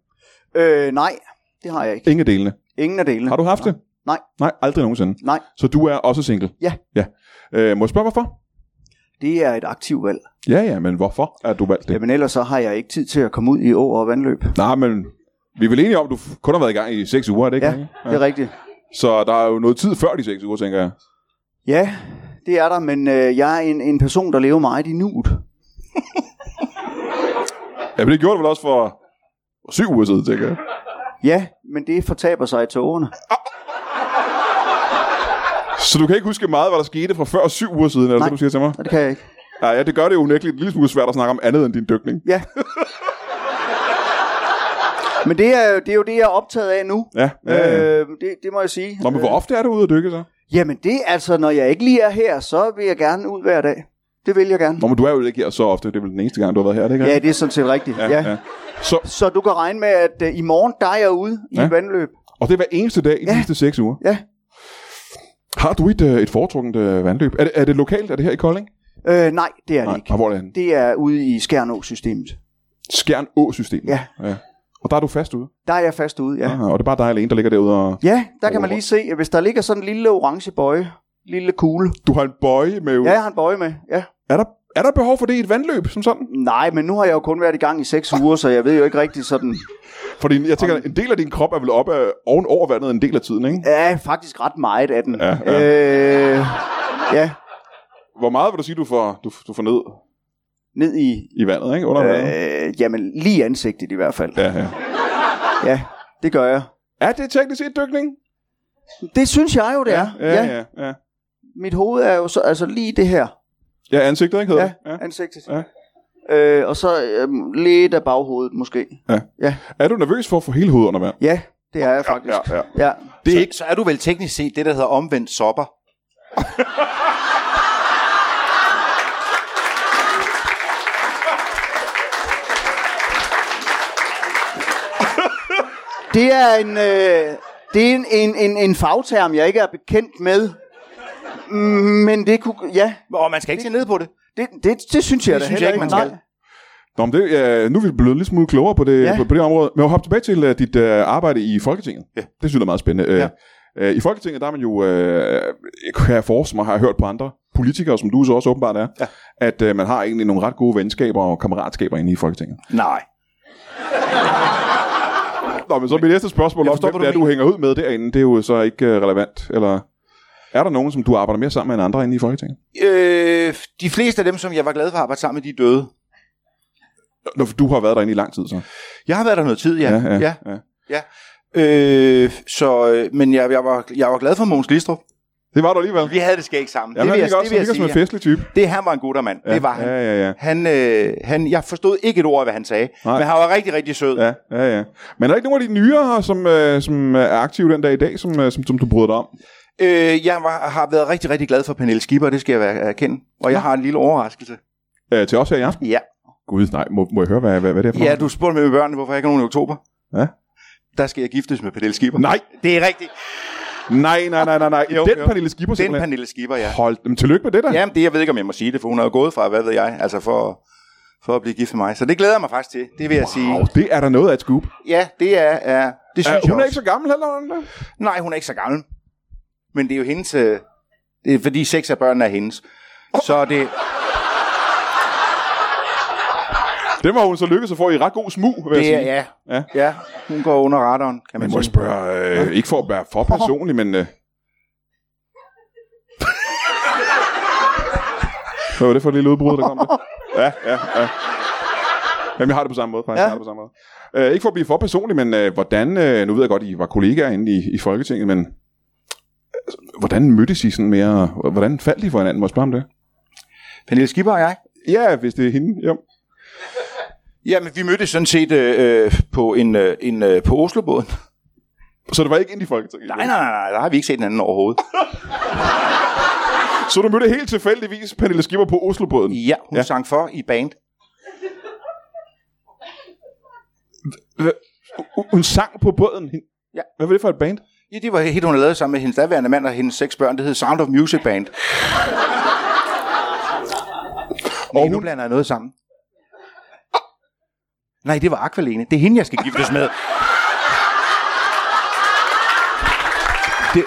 [SPEAKER 5] Øh, nej, det har jeg ikke.
[SPEAKER 1] Ingen af delene.
[SPEAKER 5] Ingen af delene.
[SPEAKER 1] Har du haft
[SPEAKER 5] nej.
[SPEAKER 1] det?
[SPEAKER 5] Nej.
[SPEAKER 1] Nej, aldrig nogensinde.
[SPEAKER 5] Nej,
[SPEAKER 1] Så du er også single?
[SPEAKER 5] Ja.
[SPEAKER 1] ja. Øh, må jeg spørge, hvorfor?
[SPEAKER 5] det er et aktivt valg.
[SPEAKER 1] Ja, ja, men hvorfor er du valgt det?
[SPEAKER 5] Jamen ellers så har jeg ikke tid til at komme ud i åer og vandløb.
[SPEAKER 1] Nej, men vi er vel enige om, at du f- kun har været i gang i 6 uger, er det ikke?
[SPEAKER 5] Ja,
[SPEAKER 1] rigtigt?
[SPEAKER 5] det er rigtigt.
[SPEAKER 1] Så der er jo noget tid før de 6 uger, tænker jeg.
[SPEAKER 5] Ja, det er der, men øh, jeg er en, en person, der lever meget i nuet.
[SPEAKER 1] Ja, men det gjorde du vel også for 7 uger siden, tænker jeg.
[SPEAKER 5] Ja, men det fortaber sig i tågerne.
[SPEAKER 1] Så du kan ikke huske meget, hvad der skete fra før 7 uger siden, eller
[SPEAKER 5] Nej.
[SPEAKER 1] det, du siger til mig?
[SPEAKER 5] Og det kan jeg ikke.
[SPEAKER 1] Ja, ja, det gør det jo unægteligt en lille smule svært at snakke om andet end din dykning. <laughs>
[SPEAKER 5] Ja. Men det er, jo- det er jo det, jeg er optaget af nu.
[SPEAKER 1] Ja, ja, ja.
[SPEAKER 5] Øh, det, det må jeg sige.
[SPEAKER 1] Nå, men hvor ofte er du ude at dykke så?
[SPEAKER 5] Øh, jamen det er altså, når jeg ikke lige er her, så vil jeg gerne ud hver dag. Det vil jeg gerne.
[SPEAKER 1] Nå, men du er jo ikke her så ofte. Det er vel den eneste gang, du har været her, er det ikke?
[SPEAKER 5] Ja, det er sådan set rigtigt. Ja, ja.
[SPEAKER 1] Så,
[SPEAKER 5] Så du kan regne med, at øh, i morgen, der er jeg ude i
[SPEAKER 1] Ja.
[SPEAKER 5] et vandløb.
[SPEAKER 1] og det er hver eneste dag i de
[SPEAKER 5] Ja.
[SPEAKER 1] sidste 6 uger.
[SPEAKER 5] Ja.
[SPEAKER 1] Har du et, øh, et foretrukket øh, vandløb? Er det, er det lokalt? Er det her i Kolding?
[SPEAKER 5] Øh, nej, det er det ikke.
[SPEAKER 1] og hvor er det henne?
[SPEAKER 5] Det er ude i Skjernå-systemet.
[SPEAKER 1] Skjern Å-systemet.
[SPEAKER 5] Ja.
[SPEAKER 1] ja. Og der er du fast ude.
[SPEAKER 5] Der er jeg fast ude, ja.
[SPEAKER 1] Ja. Og det er bare dig alene, der ligger derude. Og...
[SPEAKER 5] Ja, der kan man lige se, at hvis der ligger sådan en lille orange bøje, lille kugle.
[SPEAKER 1] Du har en bøje med ud.
[SPEAKER 5] Ja, jeg har en bøje med, ja.
[SPEAKER 1] Er, der, er der behov for det i et vandløb som sådan?
[SPEAKER 5] Nej, men nu har jeg jo kun været i gang i seks uger, så jeg ved jo ikke rigtig sådan...
[SPEAKER 1] Fordi jeg tænker, en del af din krop er vel oppe af, oven over vandet en del af tiden, ikke?
[SPEAKER 5] Ja, faktisk ret meget af den.
[SPEAKER 1] Ja, ja.
[SPEAKER 5] Øh, ja
[SPEAKER 1] Hvor meget vil du sige, du får, du, du får ned
[SPEAKER 5] ned i...
[SPEAKER 1] i vandet, ikke? Under vandet?
[SPEAKER 5] Øh, jamen, lige ansigtet i hvert fald.
[SPEAKER 1] Ja, ja.
[SPEAKER 5] ja, det gør jeg.
[SPEAKER 1] Er det teknisk set dykning?
[SPEAKER 5] Det synes jeg jo, det er.
[SPEAKER 1] ja, ja. ja, ja.
[SPEAKER 5] Mit hoved er jo så, altså lige det her.
[SPEAKER 1] Ja, ansigtet, ikke? hedder
[SPEAKER 5] Ja,
[SPEAKER 1] det?
[SPEAKER 5] ja. ansigtet.
[SPEAKER 1] Ja.
[SPEAKER 5] Ja. Øh, og så øhm, lidt af baghovedet måske.
[SPEAKER 1] Er du nervøs for at få hele hovedet under vand?
[SPEAKER 5] Ja, det er jeg faktisk.
[SPEAKER 1] ja.
[SPEAKER 5] ja.
[SPEAKER 2] Det er ikke... så, så er du vel teknisk set det, der hedder omvendt sopper.
[SPEAKER 5] Det er en, øh, det er en, en, en, en fagterm, jeg ikke er bekendt med. Mm, Men det kunne... Ja,
[SPEAKER 2] Og man skal ikke se ned på det.
[SPEAKER 5] det, det, det synes jeg
[SPEAKER 2] Det
[SPEAKER 5] da
[SPEAKER 2] synes
[SPEAKER 5] heller
[SPEAKER 2] jeg ikke, man
[SPEAKER 5] Nej.
[SPEAKER 2] skal.
[SPEAKER 1] Nå, men det, øh, nu er vi blevet lidt smule klogere på det, ja.
[SPEAKER 5] Ja.
[SPEAKER 1] på, på det område. Men jeg vil hoppe tilbage til øh, dit øh, arbejde i Folketinget.
[SPEAKER 2] Ja.
[SPEAKER 1] Det synes jeg er meget spændende. Øh, øh, I Folketinget, der er man jo, øh, kan jeg forestille mig, har jeg hørt på andre politikere, som du så også åbenbart er,
[SPEAKER 2] Ja.
[SPEAKER 1] at øh, man har egentlig nogle ret gode venskaber og kammeratskaber inde i Folketinget.
[SPEAKER 2] Nej.
[SPEAKER 1] Nå, men så mit næste spørgsmål
[SPEAKER 2] Jeg
[SPEAKER 1] om,
[SPEAKER 2] forstår,
[SPEAKER 1] hvem
[SPEAKER 2] hvad
[SPEAKER 1] det er,
[SPEAKER 2] du
[SPEAKER 1] du hænger ud med derinde, det er jo så ikke øh, relevant. Eller er der nogen, som du arbejder mere sammen med end andre inde i Folketinget?
[SPEAKER 2] Øh, de fleste af dem, som jeg var glad for at arbejde sammen med, de er døde.
[SPEAKER 1] Nå, for du har været derinde i lang tid, så.
[SPEAKER 2] Jeg har været der noget tid, ja. ja, ja.
[SPEAKER 1] ja.
[SPEAKER 2] Øh, så, øh, men jeg, jeg, var, jeg var glad for Mogens Listrup.
[SPEAKER 1] Det var du alligevel.
[SPEAKER 2] Vi havde det skægt sammen.
[SPEAKER 1] Ja,
[SPEAKER 2] det
[SPEAKER 1] men han
[SPEAKER 2] vil jeg,
[SPEAKER 1] ligger
[SPEAKER 2] det
[SPEAKER 1] også,
[SPEAKER 2] vil
[SPEAKER 1] han
[SPEAKER 2] jeg
[SPEAKER 1] ligger som
[SPEAKER 2] sige.
[SPEAKER 1] en festlig type.
[SPEAKER 2] Det han var en guttermand.
[SPEAKER 1] Ja,
[SPEAKER 2] Ja, det var han.
[SPEAKER 1] Ja, ja, ja.
[SPEAKER 2] Han, øh, han, jeg forstod ikke et ord af, hvad han sagde.
[SPEAKER 1] Nej.
[SPEAKER 2] Nej. Men han var rigtig, rigtig sød. Ja.
[SPEAKER 1] Ja, ja, ja. Men er der ikke nogen af de nyere her, som, øh, som er aktive den dag i dag, som, øh, som, som du bryder dig om?
[SPEAKER 2] Øh, jeg var, har været rigtig, rigtig glad for Pernille Skipper, det skal jeg være- erkende. Og jeg har en lille overraskelse.
[SPEAKER 1] Øh, til os her i aften?
[SPEAKER 2] Ja.
[SPEAKER 1] Gud, nej, må, må jeg høre, hvad, hvad, hvad det er for
[SPEAKER 2] Ja,
[SPEAKER 1] noget?
[SPEAKER 2] du spurgte med børnene, hvorfor jeg ikke har nogen i oktober.
[SPEAKER 1] Ja.
[SPEAKER 2] Der skal jeg giftes med Pernille Skipper.
[SPEAKER 1] Nej,
[SPEAKER 2] Det er rigtigt.
[SPEAKER 1] nej, nej, nej, nej, nej.
[SPEAKER 2] Jo,
[SPEAKER 1] den
[SPEAKER 2] jo.
[SPEAKER 1] Pernille Skipper
[SPEAKER 2] Den
[SPEAKER 1] simpelthen.
[SPEAKER 2] Pernille Skipper, ja.
[SPEAKER 1] Hold, jamen, tillykke med det der.
[SPEAKER 2] Jamen, det, jeg ved ikke, om jeg må sige det, for hun er jo gået fra, hvad ved jeg, altså for, for at blive gift med mig. Så det glæder jeg mig faktisk til, det vil jeg
[SPEAKER 1] Wow,
[SPEAKER 2] sige.
[SPEAKER 1] det er der noget af et scoop.
[SPEAKER 2] Ja, det er, er det synes
[SPEAKER 1] Er,
[SPEAKER 2] jeg
[SPEAKER 1] hun er
[SPEAKER 2] også.
[SPEAKER 1] ikke så gammel heller, er hun det?
[SPEAKER 2] Nej, hun er ikke så gammel. Men det er jo hendes... øh, Det er fordi seks af børnene er hendes. Så det...
[SPEAKER 1] Den var hun så lykkedes at få i ret god smug, vil jeg
[SPEAKER 2] det er,
[SPEAKER 1] sige.
[SPEAKER 2] ja,
[SPEAKER 1] Ja.
[SPEAKER 2] ja. ja, hun går under radaren,
[SPEAKER 1] Men
[SPEAKER 2] kan man
[SPEAKER 1] må jeg
[SPEAKER 2] sige.
[SPEAKER 1] spørge, øh, ikke for at være for personlig, men... Øh... <laughs> Hvad var det for et lille udbrud, der kom der? Ja, ja, ja. Jamen, jeg har det på samme måde, faktisk. Ja.
[SPEAKER 2] Ja.
[SPEAKER 1] Jeg har det på samme måde. Øh, ikke for at blive for personlig, men øh, hvordan, øh, nu ved jeg godt, I var kollegaer inde i, i Folketinget, men altså, hvordan mødtes I sådan mere, hvordan faldt I for hinanden? Må jeg spørge om det?
[SPEAKER 2] Pernille Skipper og jeg.
[SPEAKER 1] Ja, hvis det er hende, jo.
[SPEAKER 2] Jamen, vi mødtes sådan set øh, øh, på, en, øh, en, øh, på Oslobåden.
[SPEAKER 1] Så det var ikke ind i Folketinget?
[SPEAKER 2] Nej, nej, nej, nej, der har vi ikke set hinanden overhovedet.
[SPEAKER 1] Så du mødte helt tilfældigvis Pernille Skipper på Oslobåden?
[SPEAKER 2] Ja, hun
[SPEAKER 1] Ja.
[SPEAKER 2] ja. sang for i band.
[SPEAKER 1] H- Hun sang på båden? Hende-
[SPEAKER 2] Ja.
[SPEAKER 1] Hvad var det for et band?
[SPEAKER 2] Ja, det var helt, hun havde lavet sammen med hendes daværende mand og hendes seks børn. Det hed Sound of Music Band. Og nu blander jeg noget sammen. Nej, det var Aqualene. Det er hende, jeg skal giftes med.
[SPEAKER 1] Det...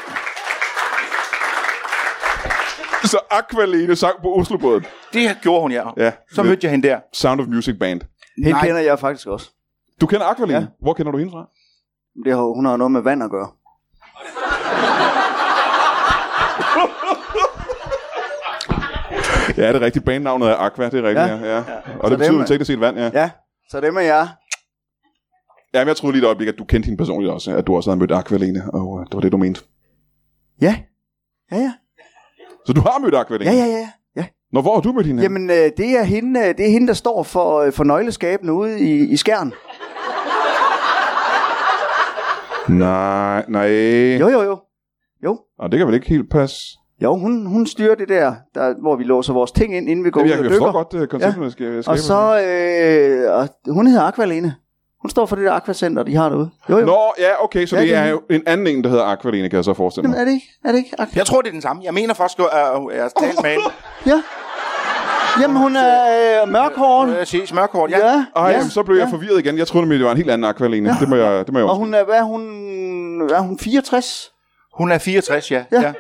[SPEAKER 1] Så Aqualene sang på Oslobåden?
[SPEAKER 2] Det gjorde hun, ja.
[SPEAKER 1] Ja.
[SPEAKER 2] Så mødte jeg hende der.
[SPEAKER 1] Sound of Music Band.
[SPEAKER 5] Hende
[SPEAKER 2] Nej.
[SPEAKER 5] kender jeg faktisk også.
[SPEAKER 1] Du kender Aqualene? Ja. Hvor kender du hende fra?
[SPEAKER 5] Det har, hun har noget med vand at gøre.
[SPEAKER 1] Ja, det er rigtigt. Bandnavnet er Aqua, det er rigtigt. Ja. Ja.
[SPEAKER 5] Ja.
[SPEAKER 1] Ja. Og det
[SPEAKER 5] dem
[SPEAKER 1] betyder
[SPEAKER 5] er-
[SPEAKER 1] teknisk set vand, ja. ja.
[SPEAKER 5] Ja, så det med jer.
[SPEAKER 1] Jamen, jeg troede lige et øjeblik, at du kendte hende personligt også, at du også havde mødt Aqualene, og øh, det var det, du mente.
[SPEAKER 5] Ja. Ja, ja.
[SPEAKER 1] Så du har mødt Aqualene?
[SPEAKER 5] Ja, ja, ja. ja.
[SPEAKER 1] Nå, hvor har du mødt hende? Jamen.
[SPEAKER 5] Jamen, øh, det, er hende, øh, det er hende, der står for, øh, for nøgleskabene ude i, i skærn.
[SPEAKER 1] Nej, nej.
[SPEAKER 5] Jo, jo, jo. Jo,
[SPEAKER 1] Nå, det kan vel ikke helt passe.
[SPEAKER 5] jo hun, hun styrer det der, der, hvor vi låser vores ting ind, inden vi går
[SPEAKER 1] Jamen,
[SPEAKER 5] ud
[SPEAKER 1] jeg
[SPEAKER 5] og
[SPEAKER 1] kan
[SPEAKER 5] dykker.
[SPEAKER 1] forstå godt uh, konceptet, ja. skal, jeg skal
[SPEAKER 5] Og så, øh, og hun hedder Aqualene. Hun står for det der Aquacenter, de har derude. Jo, jo.
[SPEAKER 1] Nå, ja, okay, så ja,
[SPEAKER 5] Ja,
[SPEAKER 1] det, det
[SPEAKER 5] det er
[SPEAKER 1] er jo en anden en, der hedder Aqualene, kan jeg så forestille
[SPEAKER 5] Jamen,
[SPEAKER 1] mig.
[SPEAKER 5] er det ikke? Er det ikke? Aqua?
[SPEAKER 2] Jeg tror, det er den samme. Jeg mener faktisk, at jeg, jeg har talt med hende.
[SPEAKER 5] Ja. Jamen, hun er øh, mørkhåret.
[SPEAKER 2] Jeg ses mørkort, ja.
[SPEAKER 5] Ja.
[SPEAKER 1] Ej,
[SPEAKER 5] ja.
[SPEAKER 1] jamen, så blev jeg forvirret igen. Jeg troede nemlig, det var en helt anden Aqualene. Ja. Det må jeg, det må jeg
[SPEAKER 5] Og
[SPEAKER 1] også.
[SPEAKER 5] hun er, hvad er hun, er hun 64?
[SPEAKER 2] Hun er 64, ja. ja.
[SPEAKER 5] Ja.
[SPEAKER 2] ja.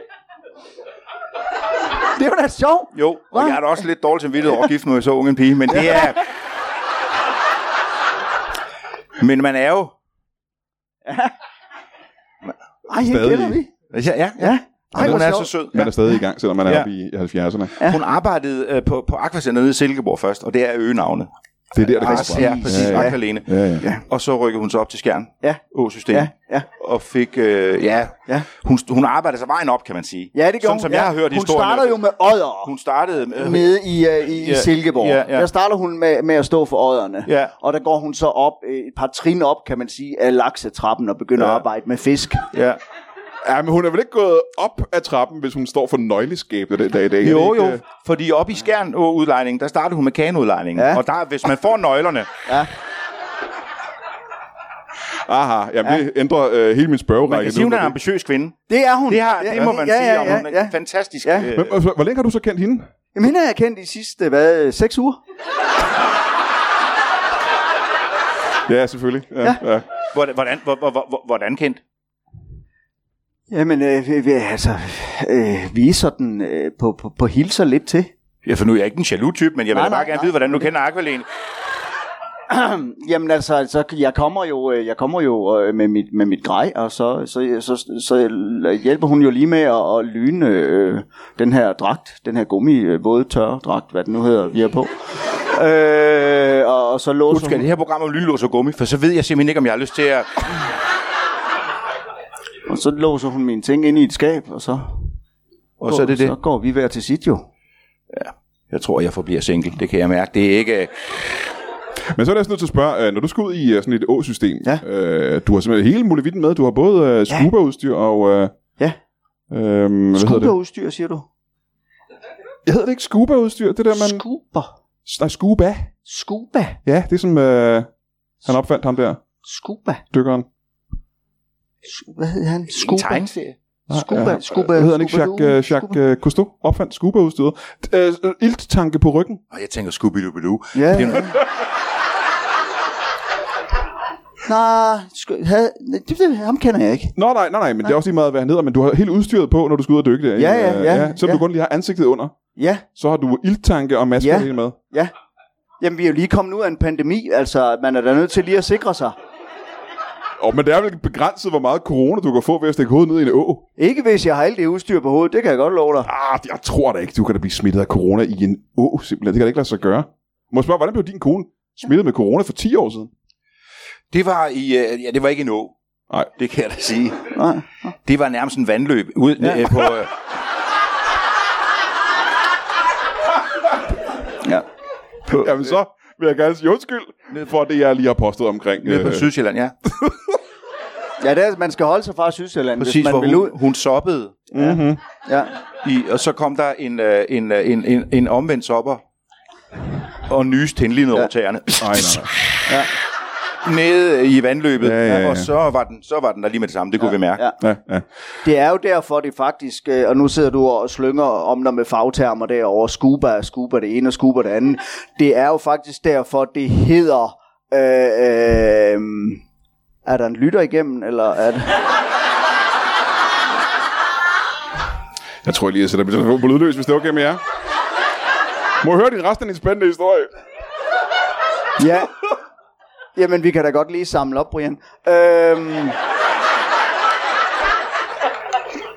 [SPEAKER 5] Det er jo da sjovt.
[SPEAKER 2] Jo, og
[SPEAKER 5] Hva?
[SPEAKER 2] jeg er da også lidt dårlig til vidtighed over at gifte mig med så ung en pige, men det er... Men man er jo...
[SPEAKER 5] Ej, hende
[SPEAKER 1] Stadig.
[SPEAKER 5] kender vi.
[SPEAKER 2] Ja, ja.
[SPEAKER 5] Ja. Ej,
[SPEAKER 2] Ej,
[SPEAKER 5] hvor
[SPEAKER 2] hun er så
[SPEAKER 5] sjovt.
[SPEAKER 2] sød.
[SPEAKER 1] Man er stadig i gang, selvom man er
[SPEAKER 2] Ja.
[SPEAKER 1] oppe i 70'erne.
[SPEAKER 2] Ja. Hun arbejdede øh, på, på Aquacenter nede i Silkeborg først, og det er øgenavnet.
[SPEAKER 1] Det er der, det går
[SPEAKER 2] Præcis,
[SPEAKER 1] fra.
[SPEAKER 2] Ah, ja, præcis.
[SPEAKER 1] Ja,
[SPEAKER 2] Ja,
[SPEAKER 1] ja.
[SPEAKER 2] Aqualene.
[SPEAKER 1] Ja, ja. ja.
[SPEAKER 2] Og så rykkede hun så op til Skjern.
[SPEAKER 5] Ja.
[SPEAKER 2] Åsystem.
[SPEAKER 5] Ja, ja.
[SPEAKER 2] Og fik, øh, ja,
[SPEAKER 5] Ja.
[SPEAKER 2] Hun, hun arbejdede sig vejen op, kan man sige.
[SPEAKER 5] Ja, det gjorde
[SPEAKER 2] Sådan, som jeg har hørt
[SPEAKER 5] Hun
[SPEAKER 2] historien. altså.
[SPEAKER 5] starter jo med odder
[SPEAKER 2] Hun startede med...
[SPEAKER 5] nede i, uh, i, i
[SPEAKER 2] Ja,
[SPEAKER 5] Silkeborg.
[SPEAKER 2] ja, ja.
[SPEAKER 5] Der starter hun med, med at stå for odderne.
[SPEAKER 2] Ja.
[SPEAKER 5] Og der går hun så op øh, et par trin op, kan man sige, af laksetrappen og begynder
[SPEAKER 2] Ja.
[SPEAKER 5] at arbejde med fisk.
[SPEAKER 2] Ja.
[SPEAKER 1] ja, men hun er vel ikke gået op af trappen, hvis hun står for nøgleskabet den dag i dag? Er
[SPEAKER 2] Jo,
[SPEAKER 1] det ikke,
[SPEAKER 2] jo, øh, fordi op i Skjern Å udlejning, der startede hun med kaneudlejning.
[SPEAKER 5] Ja.
[SPEAKER 2] Og der, hvis man får nøglerne,
[SPEAKER 1] øh, Aha, jamen, ja. det ændrer øh, hele min spørgerække.
[SPEAKER 2] man kan sige,
[SPEAKER 1] nu.
[SPEAKER 2] hun er en ambitiøs kvinde.
[SPEAKER 5] Det er hun.
[SPEAKER 2] Det, har, det må man
[SPEAKER 5] ja,
[SPEAKER 2] sige,
[SPEAKER 5] ja,
[SPEAKER 2] og
[SPEAKER 5] ja,
[SPEAKER 2] hun er
[SPEAKER 5] ja.
[SPEAKER 2] fantastisk.
[SPEAKER 5] Ja.
[SPEAKER 2] øh,
[SPEAKER 1] Men, altså, hvor længe har du så kendt hende?
[SPEAKER 5] Jamen, hende har jeg kendt i sidste, hvad, øh, seks uger?
[SPEAKER 1] Ja, selvfølgelig. Ja, ja. ja.
[SPEAKER 2] Hvordan, hvordan, hvor- hvor- hvor- hvordan kendt?
[SPEAKER 5] Jamen, øh, vi- vi- altså, øh, vi er sådan øh, på, på, på hilser lidt til.
[SPEAKER 2] Ja, for nu er jeg ikke en jaloux-type, men jeg vil
[SPEAKER 5] Nej,
[SPEAKER 2] da bare
[SPEAKER 5] nej,
[SPEAKER 2] gerne
[SPEAKER 5] nej.
[SPEAKER 2] vide, hvordan du kender Aqualene.
[SPEAKER 5] Jamen altså, altså jeg kommer jo, øh, jeg kommer jo øh, med, mit, med mit grej, og så, så, så, så hjælper hun jo lige med at, at lyne øh, den her dragt, den her gummi øh, våde tørre dragt, hvad den nu hedder, vi har på. Øh, og, og så
[SPEAKER 2] Nu
[SPEAKER 5] låser
[SPEAKER 2] skal
[SPEAKER 5] hun-
[SPEAKER 2] det her program om lynlås og gummi, for så ved jeg simpelthen ikke, om jeg har lyst til at...
[SPEAKER 5] Og så låser hun mine ting ind i et skab, og så,
[SPEAKER 2] Og så er det
[SPEAKER 5] Så
[SPEAKER 2] det.
[SPEAKER 5] går vi hver til sit jo.
[SPEAKER 2] Jeg tror, jeg forbliver single. Det kan jeg mærke. Det er ikke... øh,
[SPEAKER 1] Men så er jeg også nødt til at spørge, øh, når du skal ud i øh, sådan et å-system,
[SPEAKER 5] Ja.
[SPEAKER 1] øh, du har simpelthen hele muligheden med, du har både øh, scuba-udstyr og... Øh,
[SPEAKER 5] Ja.
[SPEAKER 1] Øhm, hvad hedder det?
[SPEAKER 5] Scuba-udstyr, siger du?
[SPEAKER 1] Jeg hedder det ikke scuba-udstyr, det der man...
[SPEAKER 5] Scuba.
[SPEAKER 1] Nej, scuba.
[SPEAKER 5] Scuba.
[SPEAKER 1] Ja, det er som øh, han opfandt ham der,
[SPEAKER 5] Scuba.
[SPEAKER 1] dykkeren.
[SPEAKER 5] Scu- Hvad hed han?
[SPEAKER 2] En
[SPEAKER 5] Scuba.
[SPEAKER 2] tegneserie.
[SPEAKER 5] Scuba.
[SPEAKER 1] Ja.
[SPEAKER 5] Scuba.
[SPEAKER 1] Hvad hedder han ikke?
[SPEAKER 5] Scuba-doo.
[SPEAKER 1] Jacques, øh,
[SPEAKER 5] Scuba.
[SPEAKER 1] Jacques øh, Cousteau opfandt scuba-udstyret. Øh, øh, ilttanke på ryggen.
[SPEAKER 2] Og jeg tænker, scooby doo doo
[SPEAKER 5] Ja.
[SPEAKER 2] Det er en-
[SPEAKER 5] Nej, sku- havde, det, det, ham kender jeg ikke.
[SPEAKER 1] Nå nej, nej, nej, men det er også lige meget, hvad han hedder, men du har helt udstyret på, når du skal ud og dykke der. ikke?
[SPEAKER 5] Ja, ja,
[SPEAKER 1] Øh,
[SPEAKER 5] ja,
[SPEAKER 1] Selvom
[SPEAKER 5] ja.
[SPEAKER 1] du kun lige har ansigtet under,
[SPEAKER 5] Ja,
[SPEAKER 1] så har du ilttanke og masker
[SPEAKER 5] Ja.
[SPEAKER 1] hele med.
[SPEAKER 5] ja. Jamen, vi er jo lige kommet ud af en pandemi, altså man er da nødt til lige at sikre sig.
[SPEAKER 1] Og men det er vel begrænset, hvor meget corona du kan få ved at stikke hovedet ned i en å.
[SPEAKER 5] Ikke hvis jeg har alt det udstyr på hovedet, det kan jeg godt love dig.
[SPEAKER 1] Ah, jeg tror da ikke, du kan da blive smittet af corona i en å, simpelthen. Det kan da ikke lade sig gøre. Må jeg spørge, hvordan blev din kone smittet med corona for 10 år siden?
[SPEAKER 2] Det var, i, øh, ja, det var ikke en å.
[SPEAKER 1] Nej.
[SPEAKER 2] Det kan jeg da sige.
[SPEAKER 5] Nej.
[SPEAKER 2] Det var nærmest en vandløb ud ja. øh, på... Øh. ja. På,
[SPEAKER 1] Jamen så vil jeg gerne sige undskyld for det, jeg lige har postet omkring.
[SPEAKER 2] nede på
[SPEAKER 1] øh,
[SPEAKER 2] Sydsjælland, ja.
[SPEAKER 5] Ja, det er, man skal holde sig fra Sydsjælland,
[SPEAKER 2] Præcis,
[SPEAKER 5] hvis man
[SPEAKER 2] hvor
[SPEAKER 5] vil ud.
[SPEAKER 2] hun, hun soppede.
[SPEAKER 5] Ja.
[SPEAKER 2] I, og så kom der en, øh, en, øh, en, en, en omvendt sopper og nyste hende lige ned over
[SPEAKER 5] Ja.
[SPEAKER 2] tæerne.
[SPEAKER 1] nej,
[SPEAKER 2] <laughs>
[SPEAKER 1] nej.
[SPEAKER 2] Nede i vandløbet.
[SPEAKER 1] Ja, ja, ja.
[SPEAKER 2] Og så var, den, så var den der lige med det samme. Det kunne vi mærke.
[SPEAKER 5] ja.
[SPEAKER 1] Ja, ja.
[SPEAKER 5] Det er jo derfor, det faktisk, øh, og nu sidder du og slynger om dig med fagtermer derovre, scuba, scuba det ene og scuba det andet. Det er jo faktisk derfor, det hedder... Øh, øh, er der en lytter igennem, eller er det...
[SPEAKER 1] Jeg tror lige, jeg sætter min telefon på lydløs, hvis det er okay med jer. Må jeg høre din resten af din spændende historie?
[SPEAKER 5] Ja. Jamen, vi kan da godt lige samle op, Brian. Øhm,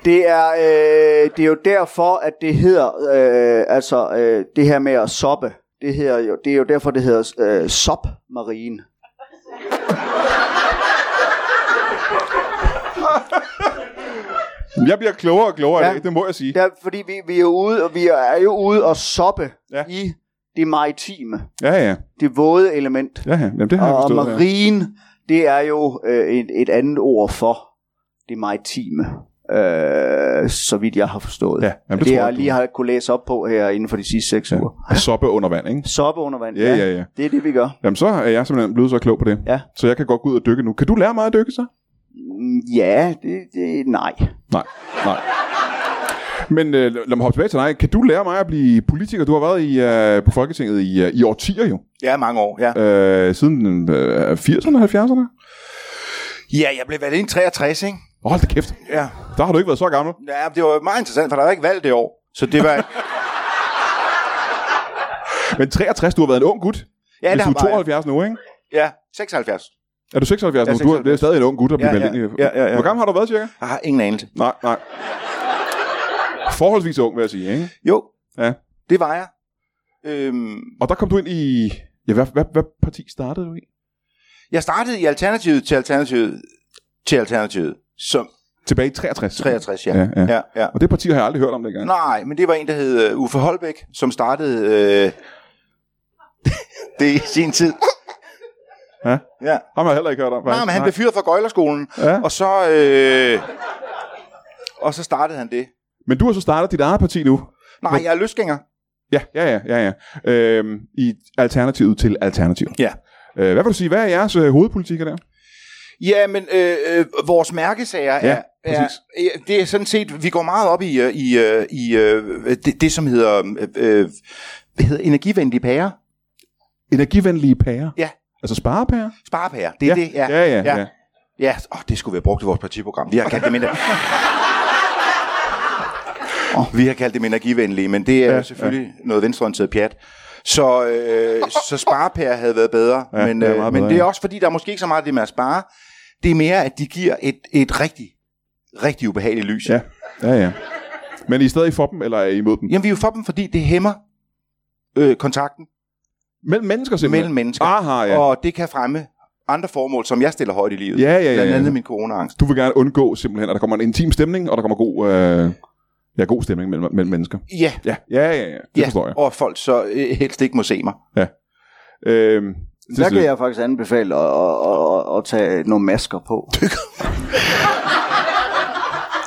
[SPEAKER 5] det, er, øh, det er jo derfor, at det hedder, øh, altså øh, det her med at soppe, det, hedder jo, det er jo derfor, det hedder øh, sopmarine.
[SPEAKER 1] Jeg bliver klogere og klogere ja.
[SPEAKER 5] Ja.
[SPEAKER 1] af det, det må jeg sige.
[SPEAKER 5] Det er, fordi vi, vi er ude, og vi er jo ude og soppe
[SPEAKER 1] Ja.
[SPEAKER 5] ja. i det maritime,
[SPEAKER 1] Ja, ja,
[SPEAKER 5] det våde element.
[SPEAKER 1] ja, ja. Jamen, det har jeg
[SPEAKER 5] Og, og
[SPEAKER 1] forstået. ja.
[SPEAKER 5] marine, det er jo øh, et, et andet ord for det maritime, øh, så vidt jeg har forstået.
[SPEAKER 1] Ja, jamen, det
[SPEAKER 5] det
[SPEAKER 1] tror
[SPEAKER 5] det
[SPEAKER 1] jeg,
[SPEAKER 5] jeg
[SPEAKER 1] du-
[SPEAKER 5] lige har kunne læse op på her inden for de sidste seks ja. uger.
[SPEAKER 1] Og soppe under vand, ikke?
[SPEAKER 5] Soppe under vand,
[SPEAKER 1] Ja, ja, ja.
[SPEAKER 5] Det er det, vi gør.
[SPEAKER 1] Jamen, så er jeg simpelthen blevet så klog på det.
[SPEAKER 5] Ja.
[SPEAKER 1] Så jeg kan godt gå ud og dykke nu. Kan du lære mig at dykke så?
[SPEAKER 5] Mm, Ja, det, det nej.
[SPEAKER 1] Nej, nej. Men øh, lad mig hoppe tilbage til dig. Kan du lære mig at blive politiker? Du har været i, øh, på Folketinget i, øh, i årtier jo.
[SPEAKER 2] Ja, mange år, ja.
[SPEAKER 1] Øh, siden øh, 80'erne, 70'erne?
[SPEAKER 2] Ja, jeg blev valgt ind i 63, ikke?
[SPEAKER 1] Åh, Hold da kæft.
[SPEAKER 2] Ja.
[SPEAKER 1] Der har du ikke været så gammel.
[SPEAKER 2] ja, det var meget interessant, for der var ikke valg det år. Så
[SPEAKER 1] <laughs>
[SPEAKER 2] det var...
[SPEAKER 1] Men 63, du har været en ung gut.
[SPEAKER 2] Ja,
[SPEAKER 1] Hvis
[SPEAKER 2] det
[SPEAKER 1] du
[SPEAKER 2] har
[SPEAKER 1] er
[SPEAKER 2] bare-
[SPEAKER 1] 72 nu, ikke?
[SPEAKER 2] Ja, 76.
[SPEAKER 1] Er du 76
[SPEAKER 2] Jeg
[SPEAKER 1] nu?
[SPEAKER 2] er
[SPEAKER 1] Du er, det er
[SPEAKER 2] 76.
[SPEAKER 1] stadig en ung gut, der bliver
[SPEAKER 2] Ja,
[SPEAKER 1] valgt
[SPEAKER 2] ja.
[SPEAKER 1] ind i.
[SPEAKER 2] Ja, ja, ja.
[SPEAKER 1] Hvor gammel har du været cirka?
[SPEAKER 2] Jeg har ingen anelse.
[SPEAKER 1] Nej, nej. Forholdsvis ung, vil jeg sige, ikke?
[SPEAKER 2] Jo,
[SPEAKER 1] Ja.
[SPEAKER 2] det var jeg. Øhm,
[SPEAKER 1] Og der kom du ind i... Ja, hvad, hvad, hvad parti startede du i?
[SPEAKER 2] jeg startede i Alternativet til Alternativet til Alternativet, som
[SPEAKER 1] Tilbage i 63.
[SPEAKER 2] 63, ja.
[SPEAKER 1] Ja, ja.
[SPEAKER 2] ja, ja.
[SPEAKER 1] Og det parti har jeg aldrig hørt om dengang.
[SPEAKER 2] Nej, men det var en, der hed øh, Uffe Holbæk, som startede øh, <laughs> det i sin tid.
[SPEAKER 1] Ja.
[SPEAKER 2] ja.
[SPEAKER 1] Ham har jeg heller ikke hørt om,
[SPEAKER 2] Nej,
[SPEAKER 1] faktisk.
[SPEAKER 2] men han blev fyret fra Gøjlerskolen,
[SPEAKER 1] Ja.
[SPEAKER 2] og så... Øh, og så startede han det.
[SPEAKER 1] Men du har så startet dit eget parti nu.
[SPEAKER 2] Nej, jeg er løsgænger.
[SPEAKER 1] Ja, ja, ja, ja, ja. Øhm, I Alternativet til Alternativ.
[SPEAKER 2] Ja.
[SPEAKER 1] Øh, hvad vil du sige, hvad er jeres øh, hovedpolitikker der?
[SPEAKER 2] Ja, men øh, øh, vores mærkesager
[SPEAKER 1] Ja,
[SPEAKER 2] er, er,
[SPEAKER 1] præcis.
[SPEAKER 2] er, det er sådan set, vi går meget op i, øh, i, øh, i øh, det, det, som hedder, øh, øh, hvad hedder energivenlige pærer.
[SPEAKER 1] Energivenlige pærer.
[SPEAKER 2] Ja.
[SPEAKER 1] Altså sparepærer?
[SPEAKER 2] Sparepærer, det er det. Ja,
[SPEAKER 1] ja, ja. ja.
[SPEAKER 2] ja. Oh, det skulle vi have brugt i vores partiprogram. Vi har kaldt
[SPEAKER 1] <laughs>
[SPEAKER 2] dem, ener- oh, vi har kaldt dem energivenlige, men det er
[SPEAKER 1] Ja,
[SPEAKER 2] ja, selvfølgelig ja. noget venstreorienteret pjat. Så, øh, så sparepærer havde været bedre,
[SPEAKER 1] Ja,
[SPEAKER 2] ja, men,
[SPEAKER 1] det er
[SPEAKER 2] øh,
[SPEAKER 1] meget
[SPEAKER 2] men
[SPEAKER 1] bedre,
[SPEAKER 2] det er
[SPEAKER 1] ja.
[SPEAKER 2] også fordi, der er måske ikke så meget det med at spare. Det er mere, at de giver et, et rigtig, rigtig ubehageligt lys.
[SPEAKER 1] Ja, ja, ja. Men I er stadig for dem, eller er I imod dem?
[SPEAKER 2] Jamen, vi er jo for dem, fordi det hæmmer øh, kontakten
[SPEAKER 1] Mellem mennesker
[SPEAKER 2] det
[SPEAKER 1] simpelthen?
[SPEAKER 2] mellem mennesker.
[SPEAKER 1] Aha, ja.
[SPEAKER 2] Og det kan fremme andre formål, som jeg stiller højt i livet.
[SPEAKER 1] Ja, ja, ja,
[SPEAKER 2] Blandt
[SPEAKER 1] ja.
[SPEAKER 2] andet min coronaangst.
[SPEAKER 1] Du vil gerne undgå simpelthen, at der kommer en intim stemning, og der kommer god, øh, ja, god stemning mellem, mellem mennesker.
[SPEAKER 2] Ja,
[SPEAKER 1] Ja, ja, ja, ja. Det ja. forstår jeg.
[SPEAKER 2] og folk så øh, helst ikke må se mig.
[SPEAKER 1] Øhm,
[SPEAKER 5] Der kan jeg faktisk anbefale at, at, at, at tage nogle masker på.